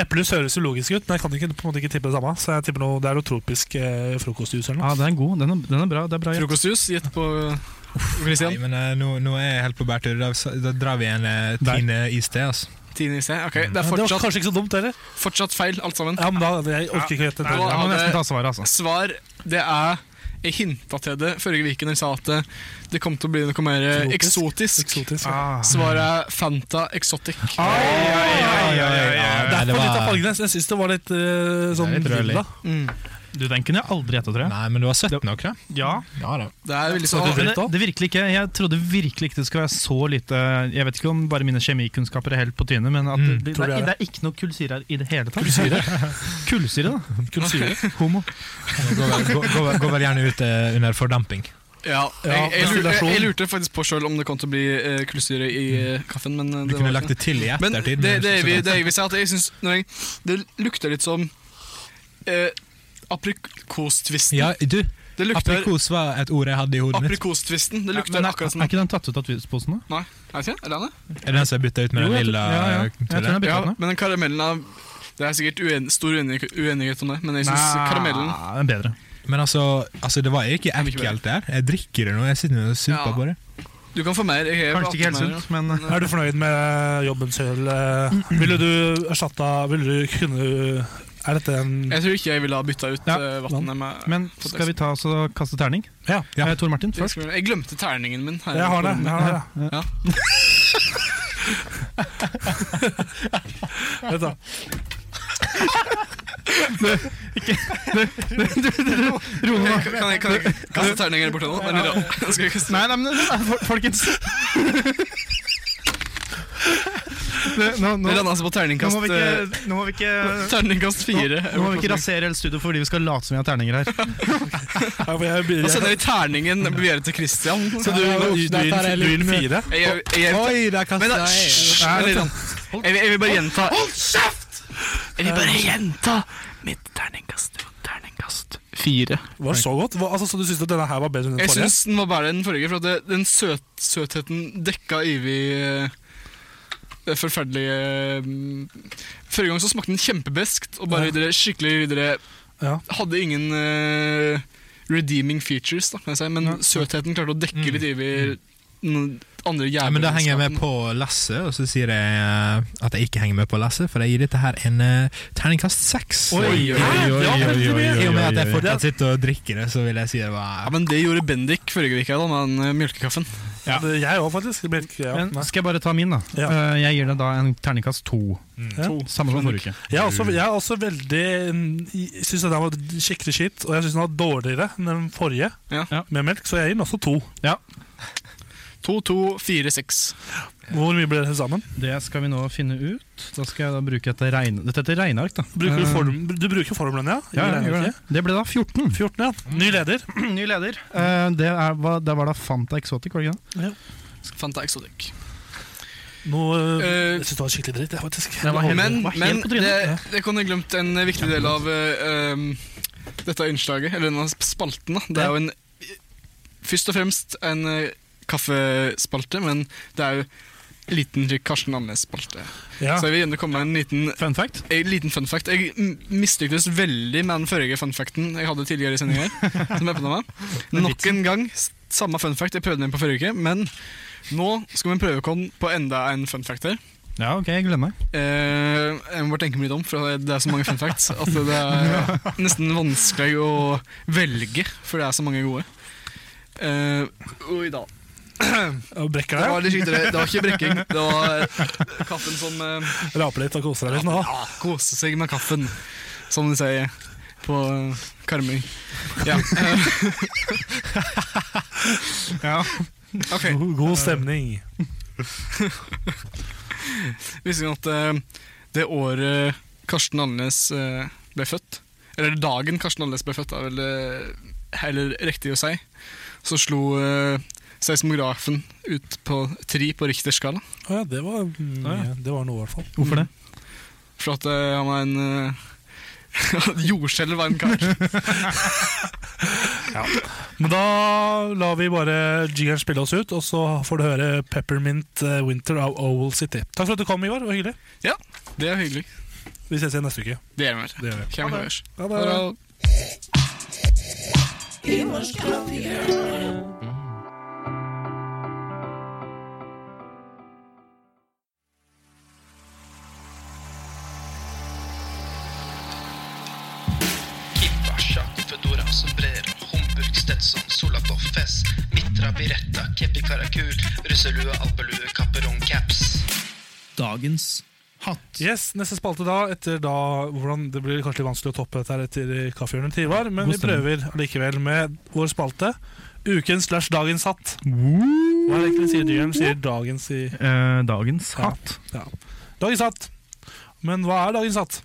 S3: Eplejus høres jo logisk ut, men jeg kan ikke, på en måte ikke tippe det samme. Så jeg tipper noe, det er noe tropisk eh, frokostjuice eller noe.
S2: Ja, den er god. Den er, den er bra. Det er bra gjett.
S4: Frokostjus gitt på
S6: Nei,
S4: Christian.
S6: men eh, nå, nå er jeg helt på bærtur. Da, da drar vi en eh,
S2: Der.
S6: Tine is til, altså.
S4: Tine i sted. Ok, det er
S3: Ja, det var
S4: fortsatt,
S3: kanskje ikke så dumt heller.
S4: fortsatt feil, alt sammen.
S3: Ja, men da, Jeg orker ikke å gjette.
S2: Nei,
S3: det.
S2: jeg må
S4: det-
S2: nesten ta svaret, altså.
S4: Svar, det er Jeg hinta til det forrige uke når jeg sa at det, det kom til å bli noe mer eh, eksotisk.
S3: Eksotisk. ja.
S2: Ah.
S4: Svaret er Fanta Exotic.
S6: Nei,
S3: Derfor
S6: det
S3: litt av
S6: var-
S3: fargene. Jeg syns det var litt eh, sånn
S6: Det er litt rødlig.
S3: lilla.
S4: Mm.
S2: Du, den kunne jeg aldri gjetta, tror jeg.
S6: Nei, men du har sett nok, da?
S2: Ja.
S6: Ja da.
S4: Det er veldig
S2: Men
S4: sånn
S2: det, det virkelig ikke, Jeg trodde virkelig ikke det skulle være så lite Jeg vet ikke om bare mine kjemikunnskaper er helt på trynet, men at
S6: Mm,
S2: det, det,
S3: tror du
S2: er,
S3: det er
S2: det er ikke noe kullsyre her i det hele tatt. Kullsyre? Kullsyre, da. Kullsyre? Homo.
S6: Gå, vel- gå, gå, vel- gå vel gjerne ut eh, under fordamping.
S4: Ja, jeg, jeg, lurte,
S3: destillasjon.
S4: jeg lurte faktisk på sjøl om det kom til å bli uh, kullsyre i eh, kaffen, men eh,
S6: Du
S4: det
S6: kunne
S4: var
S6: lagt
S4: ikke
S6: det til i
S4: Men
S6: ettertid.
S4: det, det, jeg vil- det jeg vil si, er at jeg synes når jeg, det lukter litt som uh, aprikostvisten.
S6: ja, du,
S4: det lukter
S6: aprikos var et ord jeg hadde i hodet mitt.
S4: aprikostvisten. Det lukter
S2: Men er,
S4: akkurat
S2: er
S4: som
S2: ikke den tatt ut av tvisposen, da?
S4: Nei, er det ikke det? Er det det?
S6: Er det den som jeg bytta ut
S2: Jo,
S6: med den
S2: jeg tror- ja,
S6: lilla?
S2: ja.
S6: eh,
S2: Jeg tror den
S6: tullet?
S2: er byttet
S4: Ja,
S2: ut nå.
S4: men den karamellen er Det er sikkert uen, stor uenig, uenighet om det, men jeg syns karamellen
S2: Nei, den er bedre.
S6: Men altså, altså, det var jo ikke
S4: er ikke
S6: ekkelt der. Jeg drikker det nå. Jeg sitter og
S4: Ja.
S6: supper på det.
S4: Du kan få mer. Jeg har
S2: Kanskje ikke helt
S4: hatt mer,
S2: sunt, men
S4: ja.
S3: Er du fornøyd med jobben selv? eh? Ville du erstatta Ville du kunne Er dette en
S4: Jeg tror ikke jeg ville ha bytta ut
S2: Ja,
S4: eh, vannet med
S2: men skal vi ta oss og kaste terning?
S3: Ja.
S6: Ja.
S2: Eh, Tor Martin først.
S4: Jeg glemte terningen min. her
S3: Jeg har det.
S4: på rommet.
S3: Jeg har det.
S4: Ja.
S3: Vent, da.
S2: Ro nå.
S4: Kan kan jeg, kan jeg kaste terninger der borte nå? Eller, da? Skal jeg kaste?
S2: Nei, nei, men for- folkens Det- nå, nå,
S4: Det landa altså på
S2: nå
S4: terningkast
S2: må vi
S4: eh,
S2: ikke, nå må vi ikke
S4: Terningkast fire.
S2: Nå må vi ikke rasere hele studio fordi vi skal late som vi har terninger her.
S3: Ja, for jeg
S4: Da
S3: begynner
S4: sender vi terningen videre til Christian.
S3: Så du, du, du, du, du vil fire?
S4: Jeg, jeg, jeg,
S6: Oi, der kasta
S4: men da,
S6: jeg!
S4: hysj! Vent litt, da. Jeg, vil- jeg vil bare gjenta Hold kjeft! Jeg vil bare gjenta mitt terningkast. Terningkast fire.
S3: Var det så godt? Hva, altså, så du syns at denne her var bedre enn den
S4: Jeg
S3: forrige?
S4: syns den var bedre enn den forrige, for at det, den søt, søtheten dekka Ivy eh, det forferdelige eh, Forrige gang så smakte den kjempebeskt, og bare
S3: Ja.
S4: dere, skikkelig dere
S3: Ja.
S4: Hadde ingen eh, redeeming features, da, kan jeg si, men søtheten klarte å dekke litt Ivy noen andre
S6: Mm. Ja, men Da henger jeg med på Lasse, og så sier jeg eh, at jeg ikke henger med på Lasse, for jeg gir dette her en eh, terningkast seks.
S2: Oi, oi, oi, oi, oi, oi, oi, oi,
S6: I og med at
S2: oi,
S6: jeg
S2: oi.
S6: fortsatt sitter og drikker det, så vil jeg si det var
S4: Ja, men Det gjorde Bendik forrige uke da, med den eh, mjølkekaffen.
S6: Ja.
S3: Det- Jeg òg, faktisk. Det ble ikke- ja,
S2: Men
S3: nei.
S2: skal jeg bare ta min, da? Eh, Jeg gir det da en terningkast to.
S3: Ja.
S2: Samme som forrige uke.
S3: Jeg er også, jeg er også veldig mm, Jeg syns den var skikkelig skitt, og jeg syns den var dårligere enn den forrige
S4: Ja.
S2: Ja.
S3: med melk, så jeg gir den også to.
S4: 2246.
S3: Hvor mye ble det til sammen?
S2: Det skal vi nå finne ut. Da skal jeg da bruke et regne... Dette er et regneark, da.
S3: Bruker du,
S2: Eh,
S3: form, du bruker formelen, ja?
S2: Ja,
S3: I
S2: ja, jeg gjør det.
S3: regnestykket?
S2: det ble da 14.
S3: 14, ja. Ny leder.
S2: Ny leder. Eh, det, er, hva, det var da Fanta Exotic, var det ikke det?
S4: Fanta Exotic.
S3: Nå,
S4: Eh,
S3: jeg syns det var skikkelig dritt, jeg, faktisk.
S2: Det var helt-
S4: Men,
S2: var helt
S4: men
S2: på
S4: det,
S2: trynet.
S4: det kan jeg glemt en viktig del av eh, um, dette innslaget, eller denne spalten. da. Det er jo en, først og fremst en eh, kaffespalte, men det er jo en liten Karsten Annes-spalte.
S3: Ja.
S4: Så jeg vil gjerne komme med en liten,
S2: Fun fact.
S4: en liten fun fact. Jeg m- mislyktes veldig med den forrige fun facten jeg hadde tidligere i sendingen her. som jeg oppnå meg. Nok en gang s- samme fun fact jeg prøvde den på forrige uke, men nå skal vi prøve oss på enda en fun fact her.
S2: Ja, ok, jeg gleder meg.
S4: Eh, jeg må bare tenke meg litt om, for det er så mange fun facts at det er nesten vanskelig å velge, for det er så mange gode. Eh, oi da.
S3: Og brekker
S4: Det
S3: deg.
S4: var, litt skikkelig- det var ikke brekking, det var kaffen som eh,
S3: Raper litt og koser deg litt nå.
S4: ja, koste seg med kaffen, som de sier på eh, Karmøy. Ja.
S2: Ja.
S4: Ok,
S3: God, god stemning.
S4: visste dere at eh, det året Karsten Alnes eh, ble født, eller dagen Karsten Alnes ble født, er vel eh, heller riktig å si, så slo eh, seismografen ut på tre på Richters skala.
S3: Å ja, det var, mm,
S2: Ja, ja.
S3: det var noe, i hvert fall.
S2: Hvorfor det?
S4: For at eh, han var en eh, Jordskjelv var en kar.
S3: Men da lar vi bare jingeren spille oss ut, og så får du høre Peppermint eh, Winter av Owl City. Takk for at du kom, Ivar. Det var hyggelig.
S4: Det er hyggelig.
S3: Vi ses igjen neste uke.
S4: Det gjør vi.
S3: Det gjør vi.
S4: Hvem høres?
S3: Ha
S4: Ha det.
S11: Kippa, sjakk, fedora, sombrero, Homburg, Stetson, Solator, Fez, Mitra, Biretta, Kepi, Karakul, russelue, alpelue, kapperong, caps.
S7: Dagens hatt.
S3: Yes, Neste spalte da, etter da hvordan Det blir kanskje litt vanskelig å toppe dette her etter kaffehjørnet til Ivar, men
S2: God
S3: vi
S2: stemning.
S3: prøver allikevel med vår spalte. Ukens slash dagens hatt.
S2: Mm.
S3: Hva er det egentlig sier dyrene? Sier dagens i
S2: Eh, dagens
S3: Ja.
S2: hatt.
S3: Dagens hatt! Men hva er dagens hatt?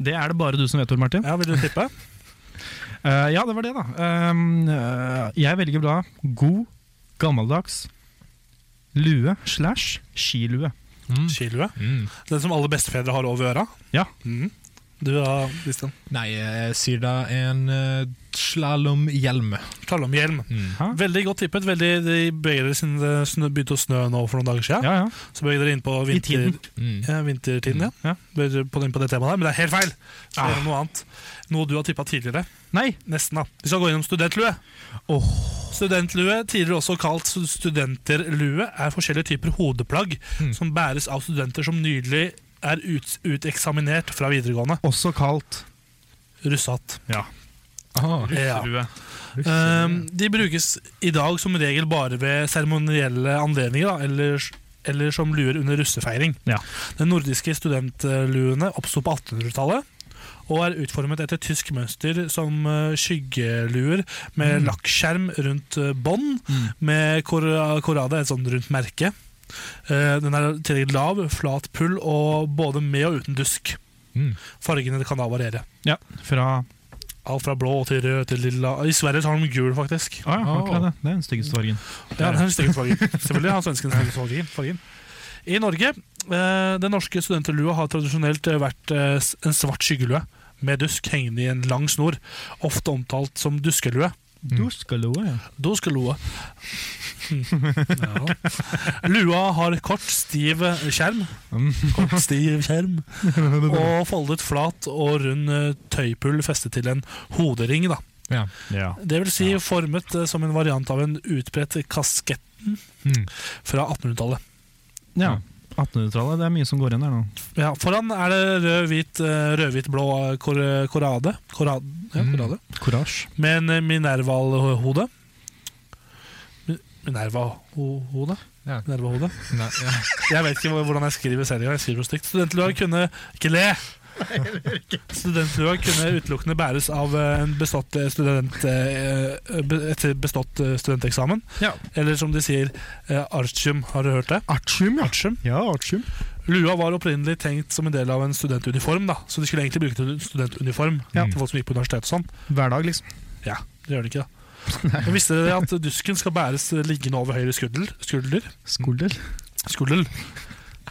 S2: Det er det bare du som vet, Tor Martin.
S3: Ja, Vil du tippe?
S2: Eh, ja, det var det, da. Ehm, eh, jeg velger da god, gammeldags lue slash skilue.
S6: Mm.
S3: Skilue.
S6: Mm.
S3: Den som alle bestefedre har over øra?
S2: Ja.
S3: Mhm. Du da, Kristian?
S6: Nei, jeg sier da en uh, slalåmhjelm.
S3: Tale om hjelm.
S6: Mm.
S3: Veldig godt tippet. veldig, de begge dere siden det snø- begynte å snø nå for noen dager siden.
S2: Ja, ja.
S3: Så begge dere inn på vinter,
S2: tiden.
S6: Mm.
S3: ja, vintertiden. Ja.
S2: Ja.
S3: Begge dere på, inn på det temaet der, Men det er helt feil! Så
S2: Ah.
S3: er det noe annet. Noe du har tippa tidligere.
S2: Nei!
S3: Nesten, da. Vi skal gå innom studentlue. Studentlue, tidligere også kalt studenterlue, er forskjellige typer hodeplagg
S2: Hmm.
S6: Mm.
S3: som bæres av studenter som nylig er ut, uteksaminert fra videregående.
S2: Også kalt
S3: Russehatt.
S6: Aha.
S3: Ja.
S2: russelue.
S3: Um, de brukes i dag som regel bare ved seremonielle anledninger, da, eller, eller som luer under russefeiring.
S2: Ja.
S3: Den nordiske studentluene oppsto på 1800-tallet. Og er utformet etter tysk mønster som eh, skyggeluer med lakkskjerm rundt eh, bånd,
S2: Mm.
S3: med kora- korade, et sånn rundt merke. Eh, Den er i tillegg lav, flat pull og både med og uten dusk.
S6: Mm.
S3: Fargene kan da variere.
S2: Ja, fra
S3: Alt fra blå til rød til lilla. I Sverige så har de gul, faktisk.
S2: Å ja, akkurat det. Det er den styggeste fargen.
S3: Ah, Ja, den styggeste fargen. Selvfølgelig har svensken den styggeste fargen- fargen. I Norge, eh, den norske studentlua har tradisjonelt eh, vært eh, s- en svart skyggelue med dusk hengende i en lang snor, ofte omtalt som duskelue.
S2: Duskelue, ja.
S3: Duskelue. Ja. Lua har kort, stiv skjerm. Kort, stiv skjerm. Og foldet flat og rund eh, tøypull festet til en hodering, da.
S6: Ja.
S2: ja.
S3: Det vil si formet eh, som en variant av en utbredt kaskett Fra 1800-tallet.
S2: Ja. 1800-tallet, det er mye som går igjen her nå.
S3: Ja, foran er det rød-hvit, eh, rød-hvit-blå kor eh, korade. Korad, ja,
S6: Mm. Hmm.
S3: korade.
S2: Courage.
S3: Med en minervalhode. Mi- Minerva-hode?
S6: Ja.
S3: Minerva-hode?
S6: Nei, ja.
S3: Jeg vet ikke hva- hvordan jeg skriver selv. Jeg skriver noe stygt. Studentlua kunne Ikke le! Studentlua kunne utelukkende bæres av eh, en bestått eh, student eh, be- etter bestått eh, studenteksamen.
S2: Ja.
S3: Eller som de sier, eh, artium. Har du hørt det? Artium, ja. Lua var opprinnelig tenkt som en del av en studentuniform, da. så de skulle egentlig bruke det til studentuniform til folk som gikk på universitet og sånn.
S2: Hver dag, liksom.
S3: Ja, det gjør de ikke, da. Men visste dere at dusken skal bæres liggende over høyre skulder? Skulder?
S2: Skulder?
S3: Skulder.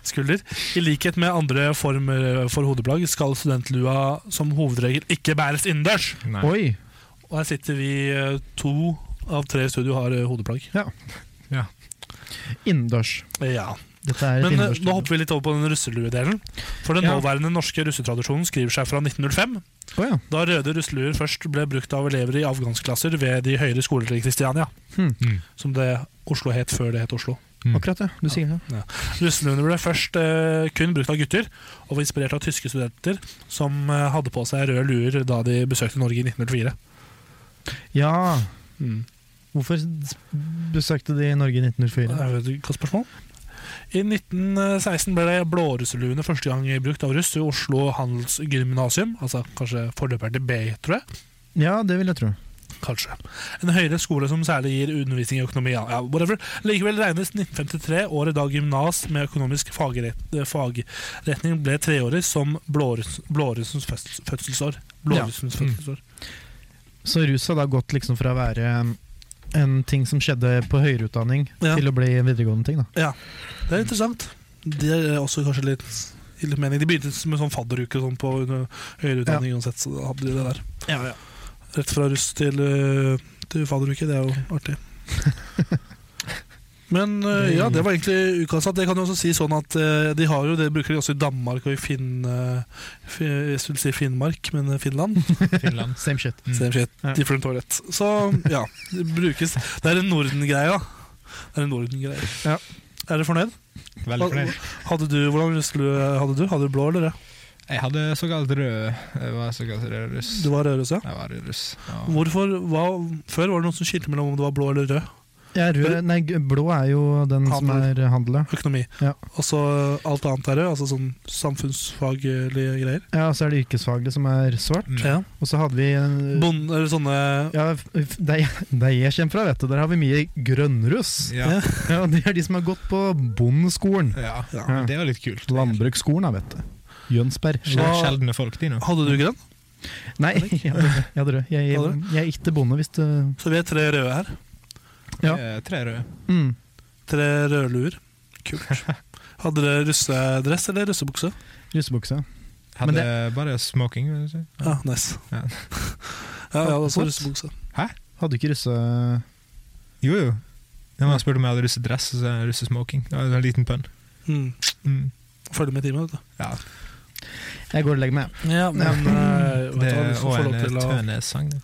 S3: Skulder. I likhet med andre former for hodeplagg skal studentlua som hovedregel ikke bæres innendørs.
S2: Nei. Oi.
S3: Og her sitter vi eh, to av tre i studio har eh, hodeplagg.
S2: Ja. Innendørs.
S3: ja.
S2: Dette er et
S3: Men eh,
S2: innendørs
S3: nå hopper vi litt over på den russeluedelen. For den
S2: Ja.
S3: nåværende norske russetradisjonen skriver seg fra 1905. Da røde russeluer først ble brukt av elever i avgangsklasser ved de høyere skoler i Kristiania.
S2: Hmm.
S3: Som det Oslo het før det het Oslo.
S2: Akkurat det, du sier det.
S3: Ja. Russeluene ble først eh, kun brukt av gutter, og var inspirert av tyske studenter som eh, hadde på seg røde luer da de besøkte Norge i 1904.
S2: Ja.
S3: Mm.
S2: Hvorfor s- besøkte de Norge i 1904?
S3: Jeg vet ikke, Hva spørsmål? I 1916 ble det blårusseluene første gang brukt av russ i Oslo handelsgymnasium, altså kanskje forløperen til B, tror jeg.
S2: Ja, det vil jeg tro.
S3: Kanskje. En høyere skole som særlig gir undervisning i økonomi. Ja, ja, whatever. Likevel regnes 1953, året da gymnas med økonomisk fagrett, eh, fagretning ble treårig, som blåruss- blårussens føds- fødselsår. Blårussens
S2: Ja. Mm.
S3: fødselsår.
S2: Så rus har da gått liksom fra å være um, en ting som skjedde på høyere utdanning,
S3: Ja.
S2: til å bli en videregående ting. da.
S3: Ja, det er interessant. Det er også kanskje litt, litt mening. De begynte med sånn fadderuke og sånn på under høyere utdanning uansett, så da hadde de det der. Rett fra russ til, øh, til fadderuke, det er jo artig. Men øh, ja, det var egentlig ukas. at Det kan jo også si sånn at øh, de har jo, det bruker de også i Danmark og i Finn, øh, Fi- jeg skulle si Finnmark, men øh, Finland.
S6: Mm. Finland.
S2: Same shit.
S3: Same shit, different toilet. Så ja, det brukes. Det er en Norden-greie, da. Det er en Norden-greie. Er dere fornøyd?
S6: Veldig fornøyd.
S3: Hva- Hadde du, hvordan russel hadde du? Hadde du blå eller rød?
S6: Jeg hadde såkalt rød Jeg var såkalt rød russ.
S3: Du var rødruss, ja.
S6: Jeg var rød russ. Ja.
S3: Hvorfor, hva, før var det noen som skilte mellom om du var blå eller rød.
S2: Ja, rød, nei, g- blå er jo den som
S3: Handel.
S2: er handel. ja.
S3: Økonomi.
S2: Ja.
S3: Og så alt annet er rød, altså sånn samfunnsfaglige greier.
S2: Ja, og så er det yrkesfaglig som er svart.
S3: Ja.
S2: Og så hadde vi en-
S3: Bonde, eller sånne
S2: ja, f- f- Der jeg- der jeg kommer fra, vet du, der har vi mye grønnruss.
S6: Ja.
S2: Ja, og det er de som har gått på bondeskolen.
S6: Ja.
S2: Ja.
S6: Det var litt kult.
S2: Landbruksskolen, da, vet du. Jønsberg.
S6: Sjel- Sjeldne folk, de nå.
S3: Hadde du grønn?
S2: Nei, jeg hadde rød. Jeg, hadde rød. jeg, jeg, jeg er ikke bonde hvis det
S3: Så vi er tre røde her.
S2: Ja.
S6: Eh, Tre røde.
S2: mm.
S3: Tre rødluer. Kult. Hadde dere russedress eller russebukse?
S2: Russebukse. Men
S6: Hadde bare smoking. Vil jeg si.
S3: Ja, Ah, nice.
S6: Ja.
S3: Ja, jeg hadde også
S2: What?
S3: russebukse.
S2: Hadde ikke russe...
S6: Jo, jo. Ja, men jeg spurte om jeg hadde russedress, og så er det russesmoking. Det var en liten pønn.
S3: Mm.
S6: Mm.
S3: Følger med i timen, vet du.
S6: Ja.
S2: Jeg går og legger meg.
S3: Ja, men eh, vet du
S6: Det
S3: hva,
S6: er
S3: du får få
S6: også en eh,
S3: lov til å
S6: Tønes-sang. det.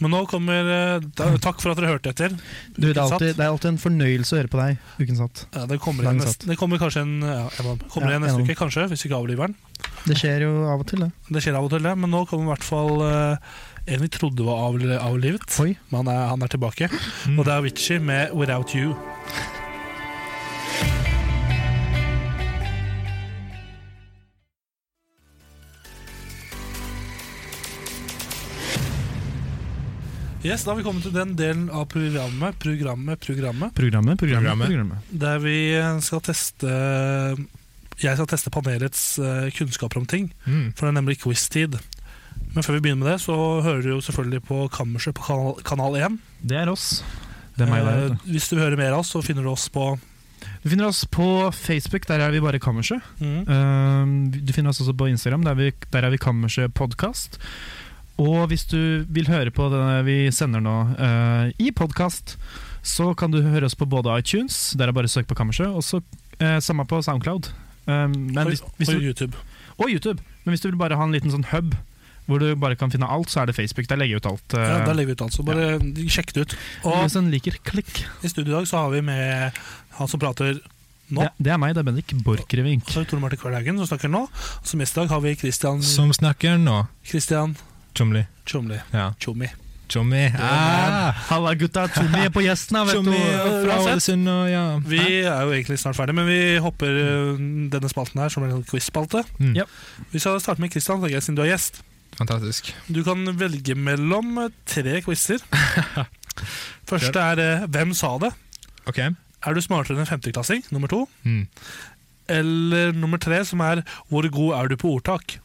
S3: Men nå kommer eh, da, Takk for at dere hørte etter.
S2: Du, det, er
S3: Ukens
S2: alltid, det er alltid en fornøyelse å høre på deg, uken satt.
S3: Ja, det kommer, igjen
S2: Lang
S3: neste,
S2: satt.
S3: det kommer kanskje en, ja, en av dem. kommer
S2: Ja,
S3: igjen
S2: en
S3: neste
S2: av
S3: uke, kanskje, hvis vi ikke avliver den.
S2: Det skjer jo av og til, det.
S3: Det skjer av og til, det. Men nå kommer i hvert fall eh, en vi trodde var av, avlivet.
S2: Oi.
S3: Men han er, han er tilbake. Og det er Avicii med 'Without You'. Yes, Da har vi kommet til den delen av programmet, programmet, programmet
S2: Programmet,
S6: Programmet.
S3: der vi skal teste Jeg skal teste panelets eh, kunnskaper om ting,
S6: Mm.
S3: for det er nemlig quiz-tid. Men før vi begynner med det, så hører du jo selvfølgelig på Kammerset på kanal, kanal 1.
S2: Det er oss. Det er meg der. vet
S3: Eh, hvis du vil høre mer av oss, så finner du oss på
S2: Du Du finner oss på Facebook, der er vi bare Kammerset.
S3: mm,
S2: Ehm, Du finner oss også på Instagram, der, vi, der er vi Kammerset podkast. Og hvis du vil høre på det vi sender nå eh, i podkast, så kan du høre oss på både iTunes, der er bare søk på Kammerset, og så eh, samme på SoundCloud. Ehm, men
S3: og,
S2: hvis, hvis
S3: og
S2: du,
S3: YouTube.
S2: og YouTube. Men hvis du vil bare ha en liten sånn hub hvor du bare kan finne alt, så er det Facebook. Der legger jeg ut alt. eh,
S3: Ja, der legger vi ut alt, så bare sjekk det ut. Og
S2: Hvis en liker, klikk.
S3: I studio i dag så har vi med han som prater nå.
S2: Det, det er meg, det er Bendik Borchgrevink.
S3: Så har vi Tore Martin Kvarlhaugen som snakker nå. Og som gjest i dag har vi Christian
S6: Som snakker nå.
S3: Christian
S6: Tjomli.
S3: Tjomli.
S6: Ja.
S3: Tjommi.
S6: Tjommi. Ah,
S2: Halla, gutta. Tommy er på gjesten her, vet du.
S6: Tjommi er fra
S2: Uansett.
S6: Ålesund og ja.
S3: Vi er jo egentlig snart ferdig, men vi hopper øh, denne spalten her som en sånn quiz-spalte.
S6: Mm.
S2: Ja.
S3: Vi skal starte med Christian, tenker jeg, siden du er gjest.
S6: Fantastisk.
S3: Du kan velge mellom øh, tre quizer. Første er øh, Hvem sa det?
S6: Ok.
S3: Er du smartere enn en femteklassing? Nummer to.
S6: Mm.
S3: Eller nummer tre, som er Hvor god er du på ordtak?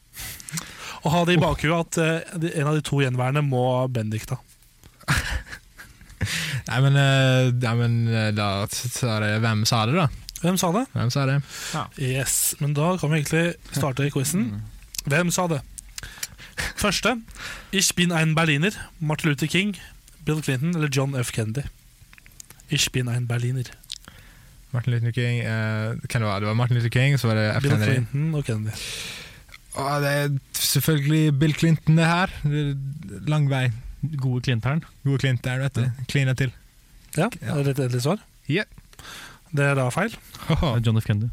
S3: Og ha
S6: Oh.
S3: det i bakhuet at øh, de- en av de to gjenværende må Bendik, da.
S6: Nei, men, eh, nei, men eh, da sa det Hvem sa det, da?
S3: Hvem sa det?
S6: Hvem sa det?
S3: Yes, men da kan vi egentlig starte
S6: Mm.
S3: quizen. Hvem sa det? Første Ich bin ein Berliner. Martin Luther King, Bill Clinton eller John F. Kennedy. Ich bin ein Berliner.
S6: Martin Luther King eh, Hvem det var det? var Martin Luther King, så var det F.
S3: Bill
S6: Kennedy.
S3: Clinton og Kennedy.
S6: Å, det er selvfølgelig Bill Clinton, det her. Det er Lang vei.
S2: Gode klinteren.
S6: God Clint der, vet du. Klina til.
S3: Ja, det er rett endelig svar.
S6: Ja.
S3: Det er da feil.
S6: Haha.
S2: John F. Kennedy.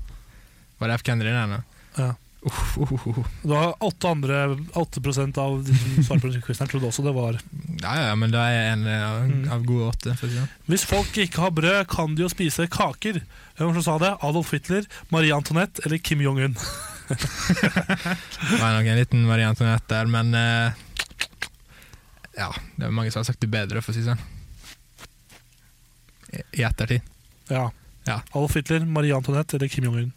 S6: Var det F. Kennedy der nå?
S3: Ja.
S6: Uff, uff, uff, uff.
S3: Du har 8, andre, 8 av de som svarer på denne quizen, her trodde også det var
S6: Ja, ja, men da er jeg en eh,
S3: Mm.
S6: av, av gode åtte. For å si det. sånn.
S3: Hvis folk ikke har brød, kan de jo spise kaker. Hvem var det som sa det? Adolf Hitler, Marie Antoinette eller Kim Jong-un?
S6: Det var nok en liten Marie Antoinette der, men eh, Ja, det er mange som har sagt det bedre, for å si det sånn. I- I ettertid.
S3: Ja.
S6: Ja.
S3: Adolf Hitler, Marie Antoinette eller Kim Jong-un?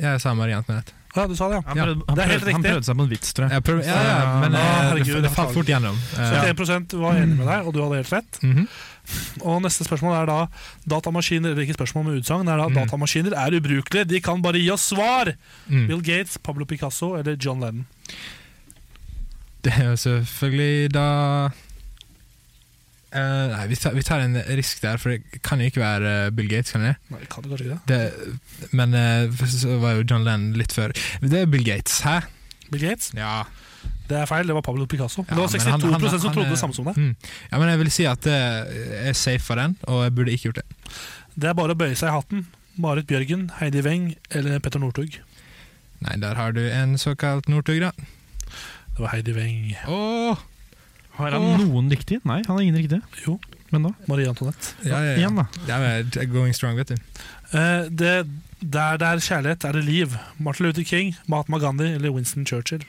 S6: Jeg sa Marie Antoinette.
S3: Ja, du sa det, ja.
S2: Han
S6: Ja,
S2: prøvde, han,
S3: det er helt
S2: prøvde, han
S3: riktig.
S2: prøvde seg på en vits, tror jeg.
S6: Jeg prøver, ja, ja, men
S3: Å,
S6: eh, det,
S3: herregud,
S6: det falt fort gjennom. Eh,
S3: 71 var enig med deg, og du hadde helt rett.
S6: mhm.
S3: Og neste spørsmål er da datamaskiner eller ikke spørsmål med utsagn. er da
S6: Mm.
S3: Datamaskiner er ubrukelige, de kan bare gi oss svar!
S6: Mm.
S3: Bill Gates, Pablo Picasso eller John Lennon?
S6: Det er jo selvfølgelig da Eh, Nei, vi tar, vi tar en risk der, for det kan jo ikke være eh, Bill Gates, kan det?
S3: Nei, kan du kanskje ikke det?
S6: det men eh, så var jo John Lennon litt før. Det er Bill Gates, hæ?
S3: Bill Gates?
S6: Ja.
S3: Det er feil, det var Pablo Picasso.
S6: Ja,
S3: det var
S6: men
S3: 62
S6: han- han-
S3: som
S6: han er-
S3: trodde det samme som deg.
S6: Mm. ja, men jeg vil si at eh, jeg er safe for den, og jeg burde ikke gjort det.
S3: Det er bare å bøye seg i hatten. Marit Bjørgen, Heidi Weng eller Petter Northug?
S6: Nei, der har du en såkalt Northug, da.
S3: Det var Heidi Weng.
S6: Åh!
S2: Har han noen riktig? Nei, han har ingen riktig.
S3: Jo,
S2: Men da?
S3: Marie Antoinette.
S6: Ja, ja, ja.
S2: Igjen, da.
S6: Ja, men det er going strong, vet du.
S3: Eh, det, der det er kjærlighet, er det liv. Martin Luther King, Mahatma Gandhi eller Winston Churchill?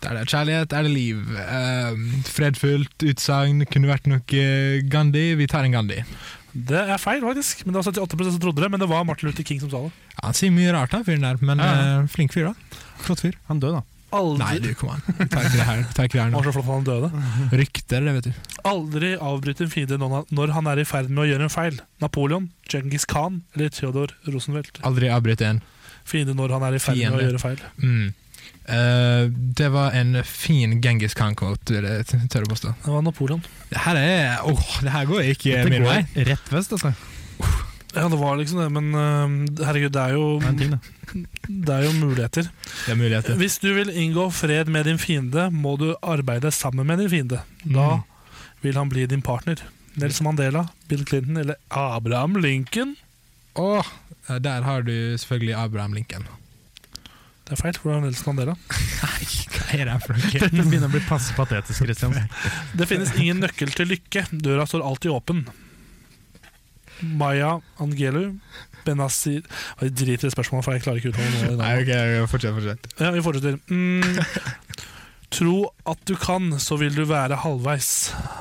S6: Der det er kjærlighet, er det liv. Eh, fredfullt utsagn. Kunne vært noe eh, Gandhi. Vi tar en Gandhi.
S3: Det er feil, faktisk. Men det var 78 som trodde det, men det var Martin Luther King som sa det.
S6: Ja, han sier mye rart, han fyren der, men
S2: Ja, ja.
S6: eh, flink fyr, da. Flott fyr.
S2: Han døde, da.
S3: Aldri,
S6: Nei, du, kom an. Vi tar ikke det her, vi tar ikke det her
S3: Det
S6: nå.
S3: var så flott at han døde.
S6: Rykter, det, vet du.
S3: Aldri avbryt en fiende når han- når han er i ferd med å gjøre en feil. Napoleon, Djengis Khan eller Theodor Rosenfeldt.
S6: Aldri avbryt en.
S3: Fiende når han er i ferd med å
S6: Fiende.
S3: gjøre feil.
S6: Mm. Eh, det var en fin Genghis Khan-quote, vil jeg t- tør å påstå.
S3: Det var Napoleon.
S6: Det her er Åh, det her går ikke
S2: Det
S6: min vei.
S2: går rett vest, altså.
S3: Ja, det var liksom det, men øhm, herregud, det er jo,
S2: Det er en ting, det.
S3: det er jo muligheter.
S6: Det er muligheter.
S3: Hvis du vil inngå fred med din fiende, må du arbeide sammen med din fiende. Da
S6: Mm.
S3: vil han bli din partner. Nelson Mandela, Bill Clinton eller Abraham Lincoln?
S6: Åh, eh, der har du selvfølgelig Abraham Lincoln.
S3: Det er feil, for det var Nelson Mandela.
S6: Nei, hva er det her for noe?
S2: Dette begynner å bli passe patetisk, Christian.
S3: Det finnes ingen nøkkel til lykke. Døra står alltid åpen. Maya Angelu Benazir Jeg driter i spørsmålet, for jeg klarer ikke å uttale noe. i
S6: Nei,
S3: navnet.
S6: ok, fortsett, fortsett.
S3: Ja, vi fortsetter. Mm. Tro at du kan, så vil du være halvveis.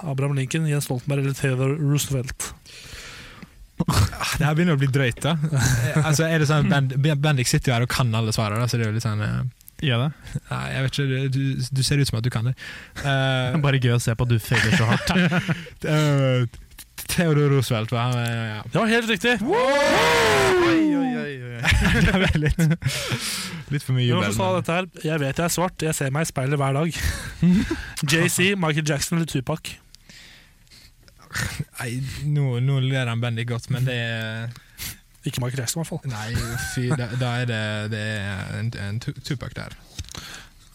S3: Abraham Lincoln, Jens Stoltenberg eller Theodore Roosevelt?
S6: Ah, Det her begynner å bli drøyt, da. Eh, altså, er det sånn, Bend Bendik sitter jo her og kan alle svarene, da, så det er jo litt sånn eh,
S2: Gjør det.
S6: Nei, jeg vet ikke, du, du ser ut som at du kan det.
S2: Det er
S6: Uh,
S2: Bare gøy å se på at du feiler så hardt.
S6: Theodor Roosevelt, hva? Ja, ja.
S3: Det var helt riktig!
S6: Det var litt, litt for
S3: Hvem var det
S6: mye jubel.
S3: som sa
S6: men-
S3: dette her? Jeg vet jeg er svart, jeg ser meg i speilet hver dag. JC, Michael Jackson eller Tupac?
S6: Nei, nå, nå ler han Bendik godt, men det er
S3: Ikke Michael Jackson, i hvert fall.
S6: Nei, fy, da, da er det, det er en, en tu- Tupac der.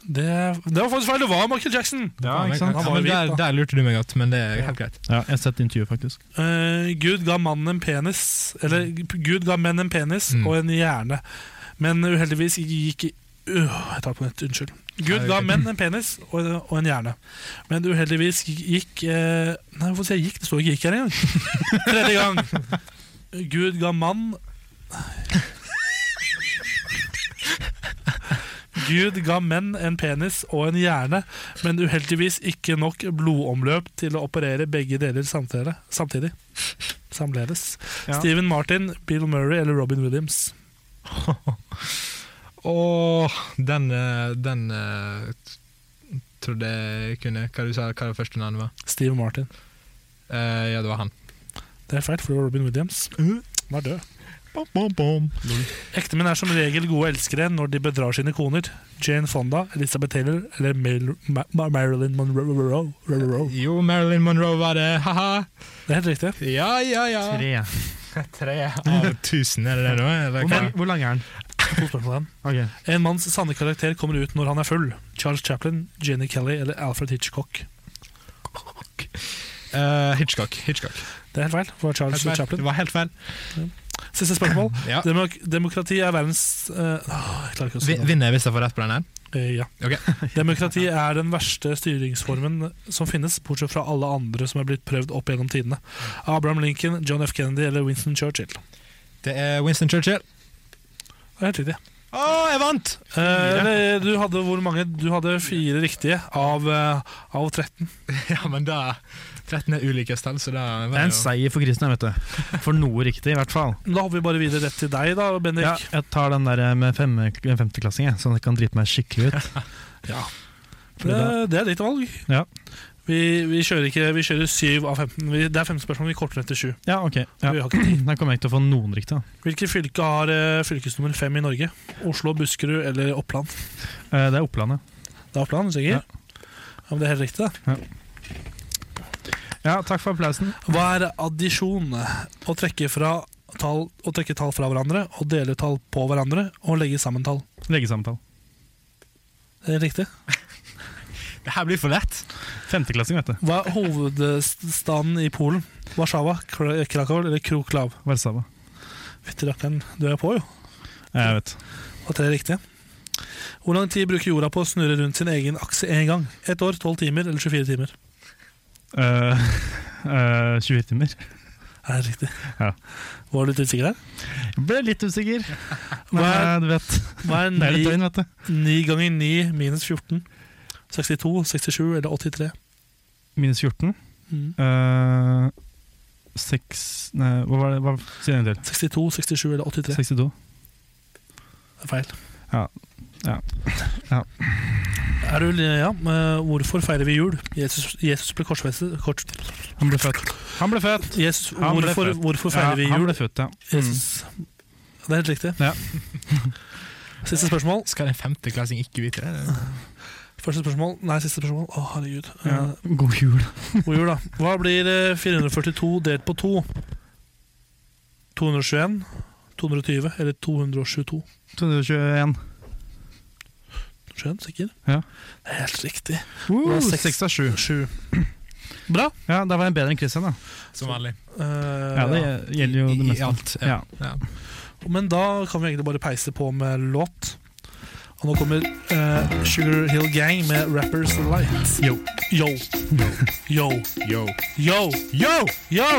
S3: Det, det var faktisk feil, det var Michael Jackson! Han
S6: Ja,
S3: var
S6: men
S3: jo
S6: der,
S3: hvit, da.
S6: der lurte du meg godt, men det er helt greit.
S2: Ja, jeg har sett intervjuet, faktisk.
S3: Eh, Gud ga mannen en penis Eller Gud ga menn en penis
S2: Mm.
S3: og en hjerne. Men uheldigvis gikk Øh, Jeg tar på nytt, unnskyld. Gud
S2: Nei,
S3: ga
S2: ok.
S3: menn en penis og, og en hjerne. Men uheldigvis gikk eh, Nei, hvorfor sier jeg gikk? Det står ikke 'gikk' her engang. Tredje gang. Gud ga mann Gud ga menn en penis og en hjerne, men uheldigvis ikke nok blodomløp til å operere begge deler samtidig. samtidig. Samledes.
S2: Ja.
S3: Steven Martin, Bill Murray eller Robin Williams?
S6: Åh, den, eh, den eh, t- trodde jeg kunne Hva du sa hva det første navnet var?
S3: Steven Martin.
S6: Eh, ja, det var han.
S3: Det er feil, for det var Robin Williams.
S6: Mhm.
S3: Han var død. Ektemenn er som regel gode elskere når de bedrar sine koner. Jane Fonda, Elizabeth Taylor eller Mal- Ma- Ma- Marilyn Monroe.
S6: Jo, Marilyn Monroe var det, haha.
S3: Det er helt riktig.
S6: Ja, ja, ja.
S2: Tre.
S6: Tre av tusen, er det det nå? eller
S3: Hvor
S6: hva?
S3: mange-
S2: Hvor lang er den?
S3: To spørsmål igjen. En manns sanne karakter kommer ut når han er full. Charles Chaplin, Jenny Kelly eller Alfred Hitchcock.
S6: Eh, Hitchcock. Hitchcock.
S3: Det er helt feil. Det var Charles
S6: Helt feil.
S3: Chaplin.
S6: Det var helt feil.
S3: Siste spørsmål.
S6: Ja.
S3: Demok demokrati er verdens eh, åh, Jeg klarer ikke å si
S6: Vi-
S3: det.
S6: Vinner jeg hvis jeg får rett på den her?
S3: Eh, ja. Demokrati er den verste styringsformen som finnes, bortsett fra alle andre som er blitt prøvd opp gjennom tidene. Abraham Lincoln, John F. Kennedy eller Winston Churchill.
S6: Det er Winston Churchill.
S3: Det er helt riktig.
S6: Å, jeg vant!
S3: Eh, eller, du hadde hvor mange? Du hadde fire riktige av, eh, av 13.
S6: Ja, men da 13 er ulike stell, så da
S2: Det er en seier for Christian, vet du. For noe riktig, i hvert fall.
S3: Da har vi bare videre rett til deg, da, Bendik.
S2: Ja, jeg tar den der eh, med fem, femteklassing, jeg, sånn at jeg kan drite meg skikkelig ut.
S3: For det, Eh, det er ditt valg.
S2: Ja.
S3: Vi, vi kjører ikke Vi kjører 7 av 15. Vi, det er 15 spørsmål, vi korter ned til 7.
S2: Ja, ok. Ja.
S3: Vi har
S2: Da kommer jeg ikke til å få noen riktig. Da.
S3: Hvilket fylke har eh, fylkesnummer 5 i Norge? Oslo, Buskerud eller Oppland?
S2: Eh, Det er Opplandet.
S3: Det er Oppland, sikker? Ja. men det er helt riktig, da.
S2: Ja, takk for applausen.
S3: Hva er addisjon? Å trekke, fra tall, å trekke tall fra hverandre, å dele tall på hverandre og legge sammen tall.
S2: Legesamtale.
S3: Det er riktig.
S6: Det her blir for lett.
S2: Femteklassing, vet du.
S3: Hva er hovedstaden i Polen? Warszawa, Kra- Krakow eller Kroklav?
S2: Warszawa.
S3: Fytti rakkeren, du er på, jo.
S2: Jeg vet.
S3: Og tre riktige. Hvor lang tid bruker jorda på å snurre rundt sin egen akse én gang? Ett år, tolv timer eller 24 timer?
S2: Eh, eh, 24 timer.
S3: Er det riktig?
S2: Ja.
S3: Var du litt usikker her?
S2: Jeg ble litt usikker.
S3: Hva
S2: Men
S3: er,
S2: eh, du vet,
S3: hva er
S2: det er et
S3: ni,
S2: døgn, vet du.
S3: ni ganger ni minus 14? 62, 67 eller 83?
S2: Minus 14.
S3: Mm.
S2: Eh, Seks Nei, hva var det? Hva, si det en del.
S3: 62, 67 eller 83?
S2: 62.
S3: Det er feil.
S2: Ja. Ja. Ja.
S3: Er du, ja, eh, hvorfor feirer vi jul? Jesus, Jesus ble korsfestet kors,
S2: Han ble født. Han ble født!
S3: Jesus,
S2: Han ble
S3: hvorfor,
S2: født.
S3: hvorfor feirer vi
S2: Han
S3: jul?
S2: ble født, ja.
S3: Jesus. Det er helt riktig.
S2: Ja.
S3: Siste spørsmål.
S6: Skal en femteklassing ikke vite det?
S3: Første spørsmål. Nei, siste spørsmål. Å, herregud.
S2: ja.
S3: Eh,
S2: God jul.
S3: God jul, da. Hva blir eh, 442 delt på 2? 221, 220 eller 222?
S2: 221.
S3: 21, sikker?
S2: Ja.
S3: Det er helt riktig.
S2: Uh,
S3: seks-
S2: 6 av 7.
S3: Sju. Bra.
S2: Ja, da var jeg bedre enn Christian, da.
S6: Som vanlig.
S3: Eh,
S2: Ja, det
S3: ja.
S2: gjelder jo
S6: I,
S2: det
S6: i
S2: meste.
S6: alt. Ja. Ja.
S3: Men da kan vi egentlig bare peise på med låt. Og nå kommer eh, Sugar Hill Gang med Rappers Light.
S2: Yo.
S3: Yo. Yo.
S6: Yo.
S3: Yo. Yo. Yo.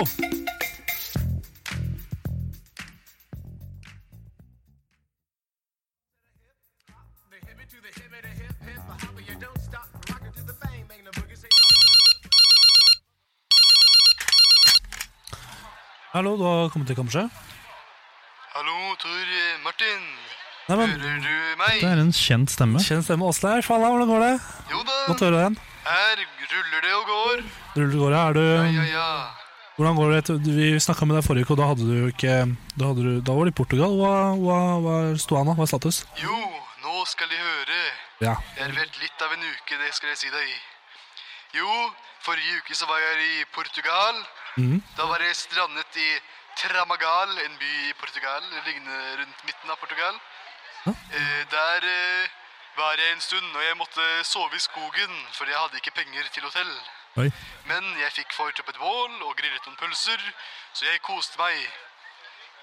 S3: Hallo, du har kommet til kammerset?
S4: Hallo, Tor eh, Martin.
S3: Nei, men
S4: Hører du meg?
S2: Det er en kjent stemme.
S3: Kjenn stemme. Åsleif, halla, hvordan går det?
S4: Jo
S3: Godt å
S4: da,
S3: høre deg igjen.
S4: her ruller det og går.
S3: Ruller det går, ja.
S4: Ja, ja,
S3: Er du,
S4: ja.
S3: hvordan går det? etter- Vi snakka med deg forrige uke, og da hadde du ikke Da, hadde du, da var du i Portugal. Hva, hva, hva er stoda nå? Hva er status?
S4: Jo, nå skal de høre.
S3: Ja.
S4: Det har vært litt av en uke, det skal jeg si deg. Jo, forrige uke så var jeg i Portugal.
S3: Mhm.
S4: Da var jeg strandet i Tramagal, en by i Portugal, liggende rundt midten av Portugal. Eh, der eh,
S12: være en stund, og jeg måtte sove i skogen, for jeg hadde ikke penger til hotell.
S6: Oi.
S12: Men jeg fikk fart opp et bål og grillet noen pølser, så jeg koste meg.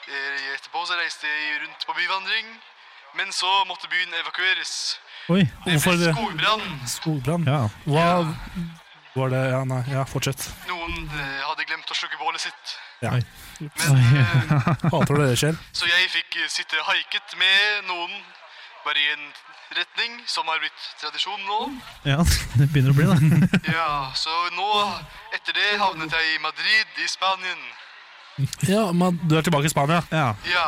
S12: Eh, Etterpå så reiste jeg rundt på byvandring, men så måtte byen evakueres.
S2: Oi,
S12: Det ble skogbrann.
S3: Skogbrann?
S2: Ja.
S3: Hva var det Ja, nei, ja, fortsett.
S12: Noen eh, hadde glemt å slukke bålet sitt.
S3: Ja. Hater
S12: Hater
S3: når det skjer.
S12: Så jeg fikk eh, sitte haiket med noen, bare i en retning, som har blitt tradisjon nå.
S2: Ja, det begynner å bli det.
S12: Ja, så nå, etter det, havnet jeg i Madrid i Spanien.
S3: Ja, men du er tilbake i Spania?
S2: Ja.
S12: Ja.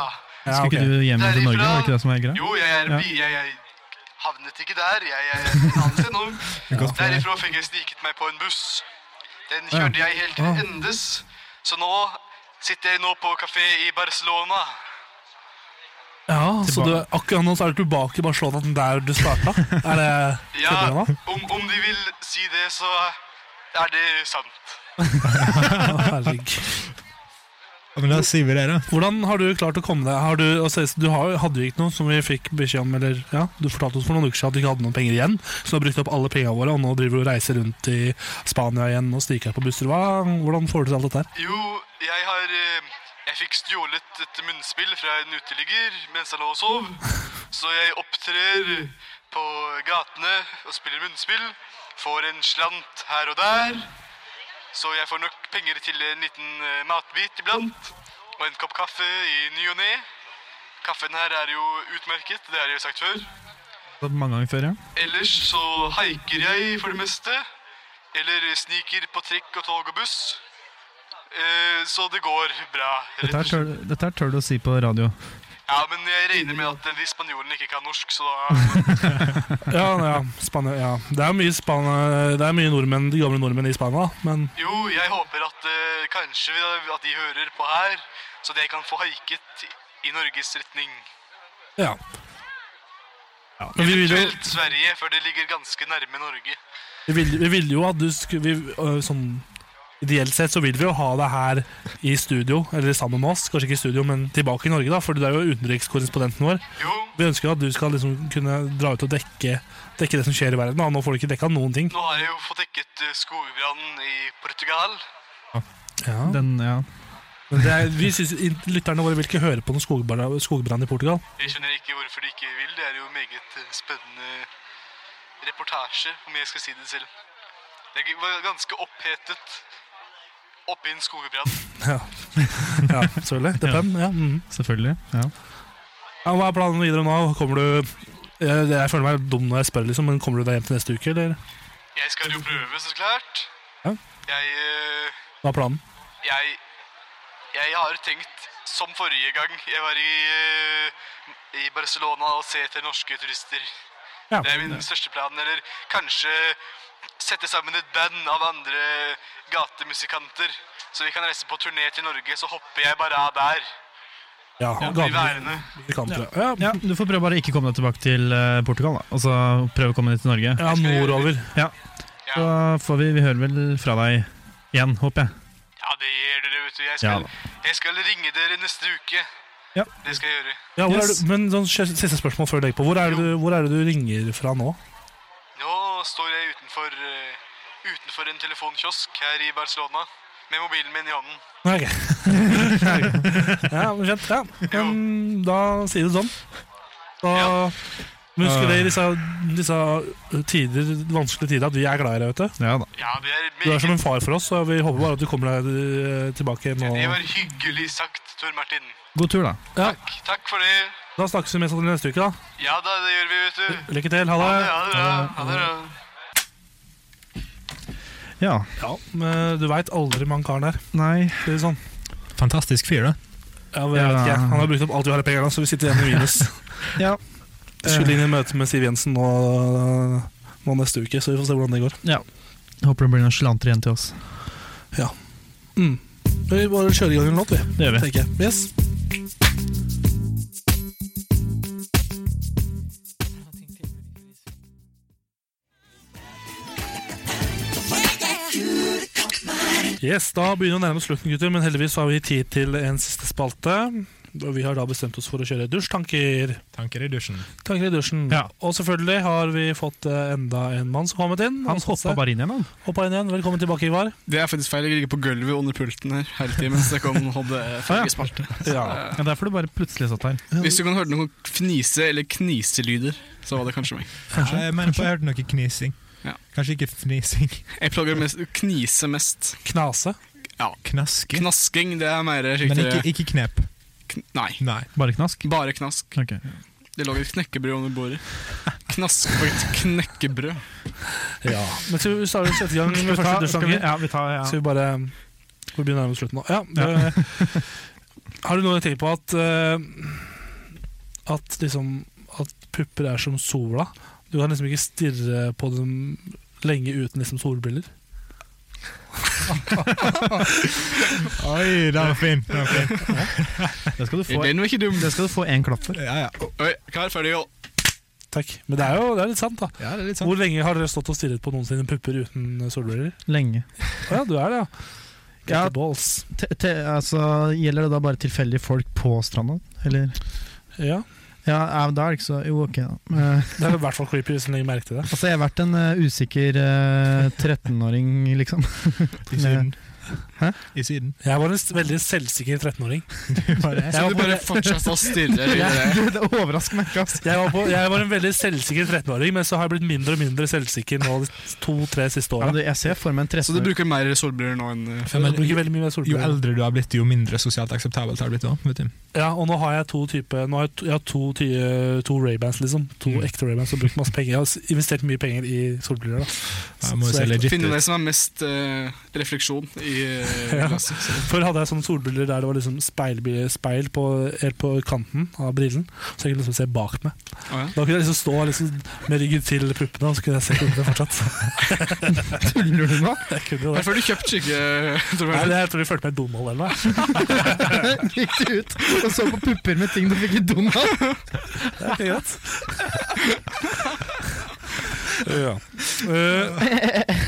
S2: Skal ikke du hjem til Norge? Var det ikke det som var greia?
S12: Jo, jeg er
S2: Ja.
S12: bi, jeg, jeg havnet ikke der, jeg, jeg er et annet sted nå.
S2: Godt for deg.
S12: Derifra fikk jeg sniket meg på en buss. Den
S2: Ja.
S12: kjørte jeg helt
S2: Ah.
S12: til endes, så nå sitter jeg nå på kafé i Barcelona.
S3: Ja, Så du, er- akkurat nå så er du tilbake i Barcelona den der du starta? Er det
S12: Ja,
S3: Kødder du nå?
S12: om, om de vil si det, så er det sant.
S3: Herregud.
S6: men da sier vi det, da.
S3: Hvordan har du klart å komme deg? Har du, altså, du har, hadde jo ikke noe som vi fikk beskjed om eller, ja, Du fortalte oss for noen uker siden at du ikke hadde noen penger igjen. Så du har brukt opp alle pengene våre, og nå driver du og reiser rundt i Spania igjen og stikker på busser. Hva, hvordan får du til alt dette her?
S12: Jo, jeg har eh, Jeg fikk stjålet et munnspill fra en uteligger mens han lå og sov. Så jeg opptrer på gatene og spiller munnspill. Får en slant her og der. Så jeg får nok penger til en liten eh, matbit iblant. Og en kopp kaffe i ny og ne. Kaffen her er jo utmerket, det har jeg jo sagt før.
S2: Mange ganger før, ja.
S12: Ellers så haiker jeg for det meste. Eller sniker på trikk og tog og buss. Eh, så det går bra. rett
S2: Dette
S12: og
S2: her
S12: slett.
S2: tør, dette her tør du å si på radio.
S12: Ja, men jeg regner med at de spanjolene ikke kan norsk, så da
S3: Ja, ja, Spania, ja. Det er mye, Spania, det er mye nordmenn, de gamle nordmenn i Spania, da, men
S12: Jo, jeg håper at eh, kanskje vi- at de hører på her, så jeg kan få haiket i Norges retning.
S3: ja. ja. Men vi vil jo
S12: Eventuelt Sverige, for det ligger ganske nærme Norge.
S3: Vi ville vi ville jo at du skulle vi, øh, sånn, Ideelt sett så vil vi jo ha deg her i studio, eller sammen med oss. Kanskje ikke i studio, men tilbake i Norge, da, for du er jo utenrikskorrespondenten vår. Vi ønsker jo at du skal liksom kunne dra ut og dekke, dekke det som skjer i verden. Da. Nå får du ikke dekka noen ting.
S12: Nå har jeg jo fått dekket eh, skogbrannen i Portugal.
S3: Ja.
S2: Den, ja.
S3: Men det er, vi synes, lytterne våre vil ikke høre på noen skogbrann, skogbrann i Portugal.
S12: Jeg skjønner ikke hvorfor de ikke vil. Det er jo meget eh, spennende reportasje, om jeg skal si det selv. Det er g- var ganske opphetet oppe i en skogbrann.
S3: Ja, ja selvfølgelig. Det er pen, ja. mhm.
S2: Selvfølgelig. ja.
S3: Ja, hva er planen videre nå? Kommer du jeg, jeg føler meg dum når jeg spør, liksom, men kommer du deg hjem til neste uke, eller?
S12: Jeg skal jo prøve, så klart.
S3: Ja.
S12: Jeg, eh,
S3: Hva er planen?
S12: jeg, jeg har tenkt, som forrige gang jeg var i, eh, i Barcelona, å se etter norske turister.
S3: Ja.
S12: Det er min største plan. Eller kanskje sette sammen et band av andre gatemusikanter. Så vi kan reise på turné til Norge, så hopper jeg bare av der.
S3: Ja,
S12: Og blir
S3: gaven.
S12: værende.
S3: Ja.
S2: Du får prøve bare ikke komme deg tilbake til eh, Portugal, da. Og så prøve å komme deg til Norge.
S3: Ja, nordover.
S2: Ja. Så får vi Vi hører vel fra deg igjen, håper jeg.
S12: Ja, det gjør dere, vet du. Jeg
S2: Ja
S12: skal, jeg skal ringe dere neste uke.
S2: Ja.
S12: Det skal jeg gjøre.
S3: Ja, hvor er du, men sånn, Siste spørsmål før jeg legger på. Hvor er, det du, hvor er det du ringer fra nå?
S12: Nå står jeg utenfor, eh, utenfor en telefonkiosk her i Barcelona med mobilen min i hånden.
S3: Nei, ok. ja, men skjønt. Ja. Men da sier du sånn. Da men husker dere i disse, disse eh, tider, vanskelige tider at vi er glad i deg, vet du.
S2: Ja, da.
S3: Du er som en far for oss, så vi håper bare at du kommer deg eh, tilbake nå.
S12: Det var hyggelig sagt, Tor Martin.
S2: God tur, da.
S3: Ja,
S12: Takk for det.
S3: da snakkes vi mest sannsynlig neste uke, da.
S12: Ja da, det gjør vi, vet du.
S3: Lykke til. Ha det.
S12: Ha det bra. Ha det bra.
S2: Ja.
S3: men eh, du veit aldri med han karen der.
S2: Nei.
S3: Det er sånn.
S6: Fantastisk fyr, da.
S3: Ja, men jeg vet ikke. Han har brukt opp alt vi har av penger, så vi sitter igjen med minus.
S2: ja.
S3: Skulle inn i møte med Siv Jensen nå, eh, nå neste uke, så vi får se hvordan det går.
S2: Ja. Håper det blir noen slanter igjen til oss.
S3: Ja. Mm. Vi bare kjører i gang en låt, vi.
S2: Det gjør vi.
S3: Tenker jeg. Yes. Yes, Da begynner vi å nærme oss slutten, gutter, men heldigvis har vi tid til en siste spalte. Og vi har da bestemt oss for å kjøre dusjtanker.
S6: Tanker i dusjen.
S3: Tanker i dusjen. Og selvfølgelig har vi fått eh, enda en mann som har kommet inn.
S2: Han hoppa bare inn igjen, han.
S3: Hoppa inn igjen. Velkommen tilbake, Ivar.
S4: Det er faktisk feil. Jeg ligger på gulvet under pulten her hele tiden mens jeg kom og hadde
S3: Ah,
S4: forrige spalte. Så,
S2: Ja.
S4: eh,
S2: ja, Derfor du bare plutselig satt her.
S4: Hvis du kan høre noen fnise- eller kniselyder, så var det kanskje meg.
S6: Nei, Jeg mener på jeg hørte noe knising. Kanskje ikke fnising.
S4: Jeg plager mest, knise mest.
S3: Knase?
S4: Ja.
S6: Knaske?
S4: Knasking, det er mer
S6: Men
S4: riktigere.
S6: ikke, ikke knep.
S4: Nei.
S2: Bare knask?
S4: Bare knask. Det lå et knekkebrød under bordet. Knask på et knekkebrød.
S3: Ja. Men skal vi starter sette i gang med
S2: Skal vi ta-
S3: første
S2: skal vi-
S3: dusjtanker?
S2: ja, vi tar- ja.
S3: Skal vi bare Vi begynner nærmest slutten nå. Ja, det, har du noen ting på at eh, At liksom At pupper er som sola? Du kan liksom ikke stirre på dem lenge uten liksom solbriller?
S6: Oi, den var fin. Den var fin.
S2: Det skal du få,
S4: Den var ikke dum.
S2: Det skal du få én klapp for.
S6: Ja, ja.
S4: Oi, klar, ferdig, jo.
S3: Takk. Men det er jo det er litt sant, da.
S6: Ja, det er litt sånn.
S3: Hvor lenge har dere stått og stirret på noen sine pupper uten eh, solbriller?
S2: Lenge.
S3: Å ja, du er det, ja.
S2: Ja,
S3: Get the balls.
S2: Te, te, altså, gjelder det da bare tilfeldige folk på stranda, eller?
S3: Ja.
S2: Ja, ja, da er det ikke så Jo, ok, da. Eh,
S3: Det er i hvert fall creepy hvis du legger merke til det.
S2: altså, jeg har vært en eh, usikker eh, 13-åring, liksom.
S6: I Syden.
S2: Hæ?
S6: I Syden.
S3: Jeg var en s- veldig selvsikker 13-åring. Jeg
S4: Så
S3: var
S4: du
S3: på-
S4: bare fortsatte å stirre? eller?
S2: Det, det overrasker meg ikke, altså. ass.
S3: Jeg var, på, jeg var en veldig selvsikker 13-åring, men så har jeg blitt mindre og mindre selvsikker nå de to-tre siste
S2: Ja, men
S3: årene.
S2: du, jeg ser for meg en
S4: Så du
S2: 13-åring
S4: bruker mer solbriller nå enn eh,
S3: Ja, men jeg bruker veldig mye mer
S6: Jo
S3: solbriller.
S6: eldre du har blitt, jo mindre sosialt akseptabelt har det blitt. Også, vet du.
S3: Ja, og nå har jeg to type Nå har jeg to, jeg har to, ty, to Ray-Bans, liksom. To ekte Ray-Bans og brukt masse penger. Jeg har s- investert mye penger i solbriller. da
S6: Ja, må jo
S3: Så
S6: se
S3: jeg-
S6: legit
S4: Finne
S6: ut.
S4: det som er mest eh, refleksjon i eh,
S3: Ja.
S4: glasset. så-
S3: Før hadde jeg sånne solbriller der det var liksom speil, speil på, helt på kanten av brillen, så jeg kunne liksom se bak meg.
S4: Å, ja.
S3: Da kunne jeg liksom stå liksom med ryggen til puppene, og så kunne jeg se puppene fortsatt.
S2: Tuller du nå?
S3: Jeg kunne jo det.
S4: Derfor har du kjøpt eh, slike tror
S3: Nei,
S4: jeg.
S3: jeg tror de følte meg dumhold eller noe.
S2: Gikk du ut og så på pupper med ting du fikk i Donald?
S3: Det er ikke greit. ja. Eh,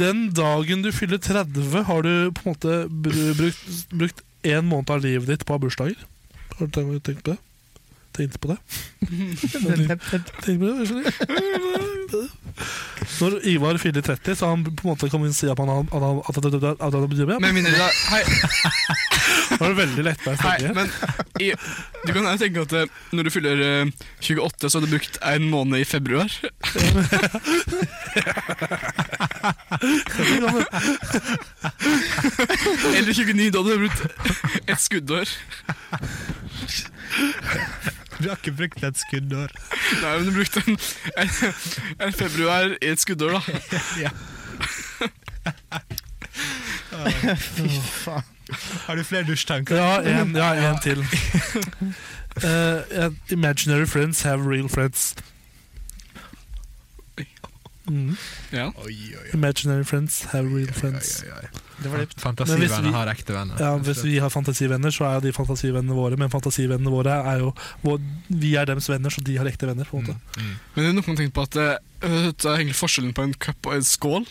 S3: den dagen du fyller 30, har du på en måte br- brukt, brukt en måned av livet ditt på å ha bursdager? Har du tenkt tenkt på det? Tenkt på det? Tenk på det, skjønner du? Når Ivar fyller 30, så har han på en måte kommet inn og si at han har- at han- at han- at han- at han har begynt med
S4: Med mindre det er Hei,
S3: Det var veldig lettbeint.
S4: hei,
S3: tenker jeg.
S4: men i, du kan jo tenke at eh, når du fyller eh, 28, så har du brukt en måned i februar. Eller 29, da hadde du brukt et skuddår.
S6: Du har ikke brukt et skuddår.
S4: Nei, men du brukte en, en, en februar i et skuddår, da.
S2: Fy faen.
S6: Har du flere dusjtanker?
S3: Ja, en, ja, en til. Eh, eh, imaginary friends have real friends. Mm.
S4: Ja.
S6: Oi, oi, oi.
S3: Imaginary friends have real friends.
S6: oi, oi.
S2: Det var det.
S3: Men hvis vi-
S6: Fantasivenner har ekte venner.
S3: Ja, Hvis vi har fantasivenner, så er jo de fantasivennene våre. Men fantasivennene våre er jo vår, Vi er deres venner, så de har ekte venner. på en måte
S4: Men det er noen tenkt på at eh, vet du, det er egentlig forskjellen på en cup og en skål.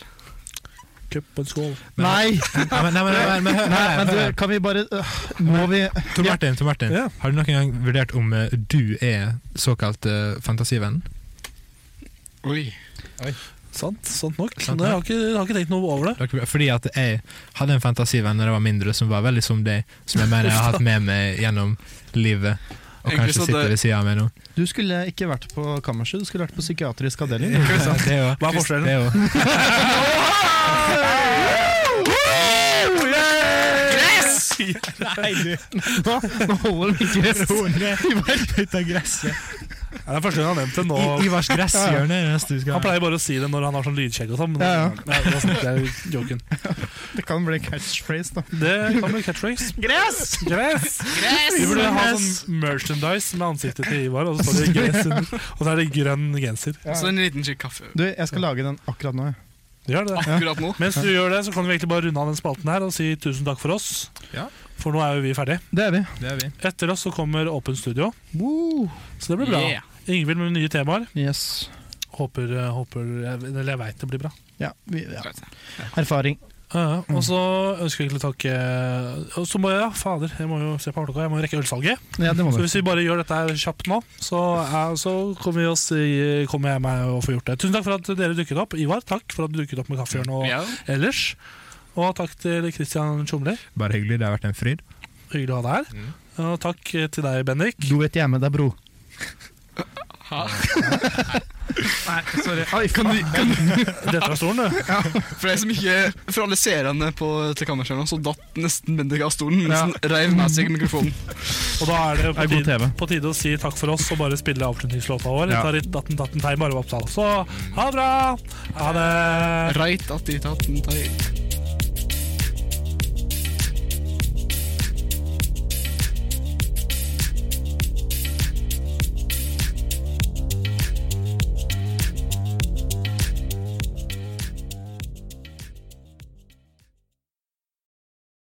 S3: Cup and skål.
S2: Nei!
S6: Nei, men, nei, men, nei, men, hør-
S2: Nei,
S6: hør-
S2: men du,
S6: hør.
S2: kan vi bare øh, Må vi
S6: Tor Martin, Tor Martin.
S3: Ja.
S6: har du noen gang vurdert om eh, du er såkalt eh, fantasivenn?
S4: Oi.
S3: Sant, sant nok.
S6: Sant
S3: Nei, jeg, har ikke, jeg har ikke tenkt noe over det.
S6: Dere- Fordi at jeg hadde en fantasivenn da jeg var mindre som var veldig som deg, som jeg mener jeg har hatt med meg gjennom livet, og
S4: Egentlig så
S6: kanskje sitter
S4: det-
S6: ved sida av meg nå.
S2: Du skulle ikke vært på kammerset, du skulle vært på psykiatrisk avdeling.
S6: Ja, Det er jo,
S3: Hva er forskjellen?
S6: Det er jo. Nei, du
S2: Nå, nå holder de ikke rest.
S6: Ivar ut av gresset.
S3: Nei, Det er første gang han har nevnt det nå.
S6: Ivars gresshjørne er det neste du
S3: Han
S6: skal ha.
S3: pleier bare å si det når han har sånn lydkjekk og sånn. Men
S2: Ja, ja.
S3: Nei, det, var sånn, det er jo joken.
S2: Det kan bli catchphrase, da.
S3: Det kan bli catchphrase. Gress! Gress! Vi burde ha sånn merchandise med ansiktet til Ivar, og så står det gress under. Og så er det grønn genser.
S4: Så en liten skikk kaffe.
S2: Du, jeg skal lage den akkurat nå. jeg.
S3: Gjør det.
S4: Akkurat nå.
S3: Mens du gjør det, så kan vi egentlig bare runde av den spalten her og si tusen takk for oss.
S6: Ja.
S3: For nå er jo vi ferdige.
S2: Det er vi.
S6: Det er vi.
S3: Etter oss så kommer Åpen studio,
S2: Woo.
S3: så det blir bra.
S4: Yeah.
S3: Ingvild med nye temaer.
S2: Yes.
S3: Håper, eh, håper jeg- Eller jeg veit det blir bra.
S2: Ja, vi, ja. Erfaring.
S3: Ja, og så ønsker jeg egentlig å takke og Så må jeg, ja, fader, jeg må jo se på klokka, jeg må rekke ølsalget.
S2: Ja, det må du.
S3: Så hvis vi bare gjør dette her kjapt nå, så, er, så kommer, vi oss i, kommer jeg meg og får gjort det. Tusen takk for at dere dukket opp. Ivar, takk for at du dukket opp med kaffehjørnet og
S6: Ja.
S3: ellers. Og takk til Kristian Tjomler.
S6: Bare hyggelig. Det har vært en fryd.
S3: Hyggelig å ha deg her. Og takk til deg, Bendik.
S7: Du vet jeg er med deg, bro.
S3: Nei, sorry.
S4: Kan du, kan du?
S3: Dette var stolen, du.
S4: Ja. For deg som ikke For alle seerne på Telekammerskjermen, så datt nesten Bendik av stolen mens han reiv med seg mikrofonen.
S3: Og da er det på
S4: Det er god
S3: tide, på tide å si takk for oss og bare spille avslutningslåta vår.
S4: Ja.
S3: Ja. Datten, datten, tei, bare opptale. Så ha det bra! Ha det!
S4: Reit at de tatt den teit.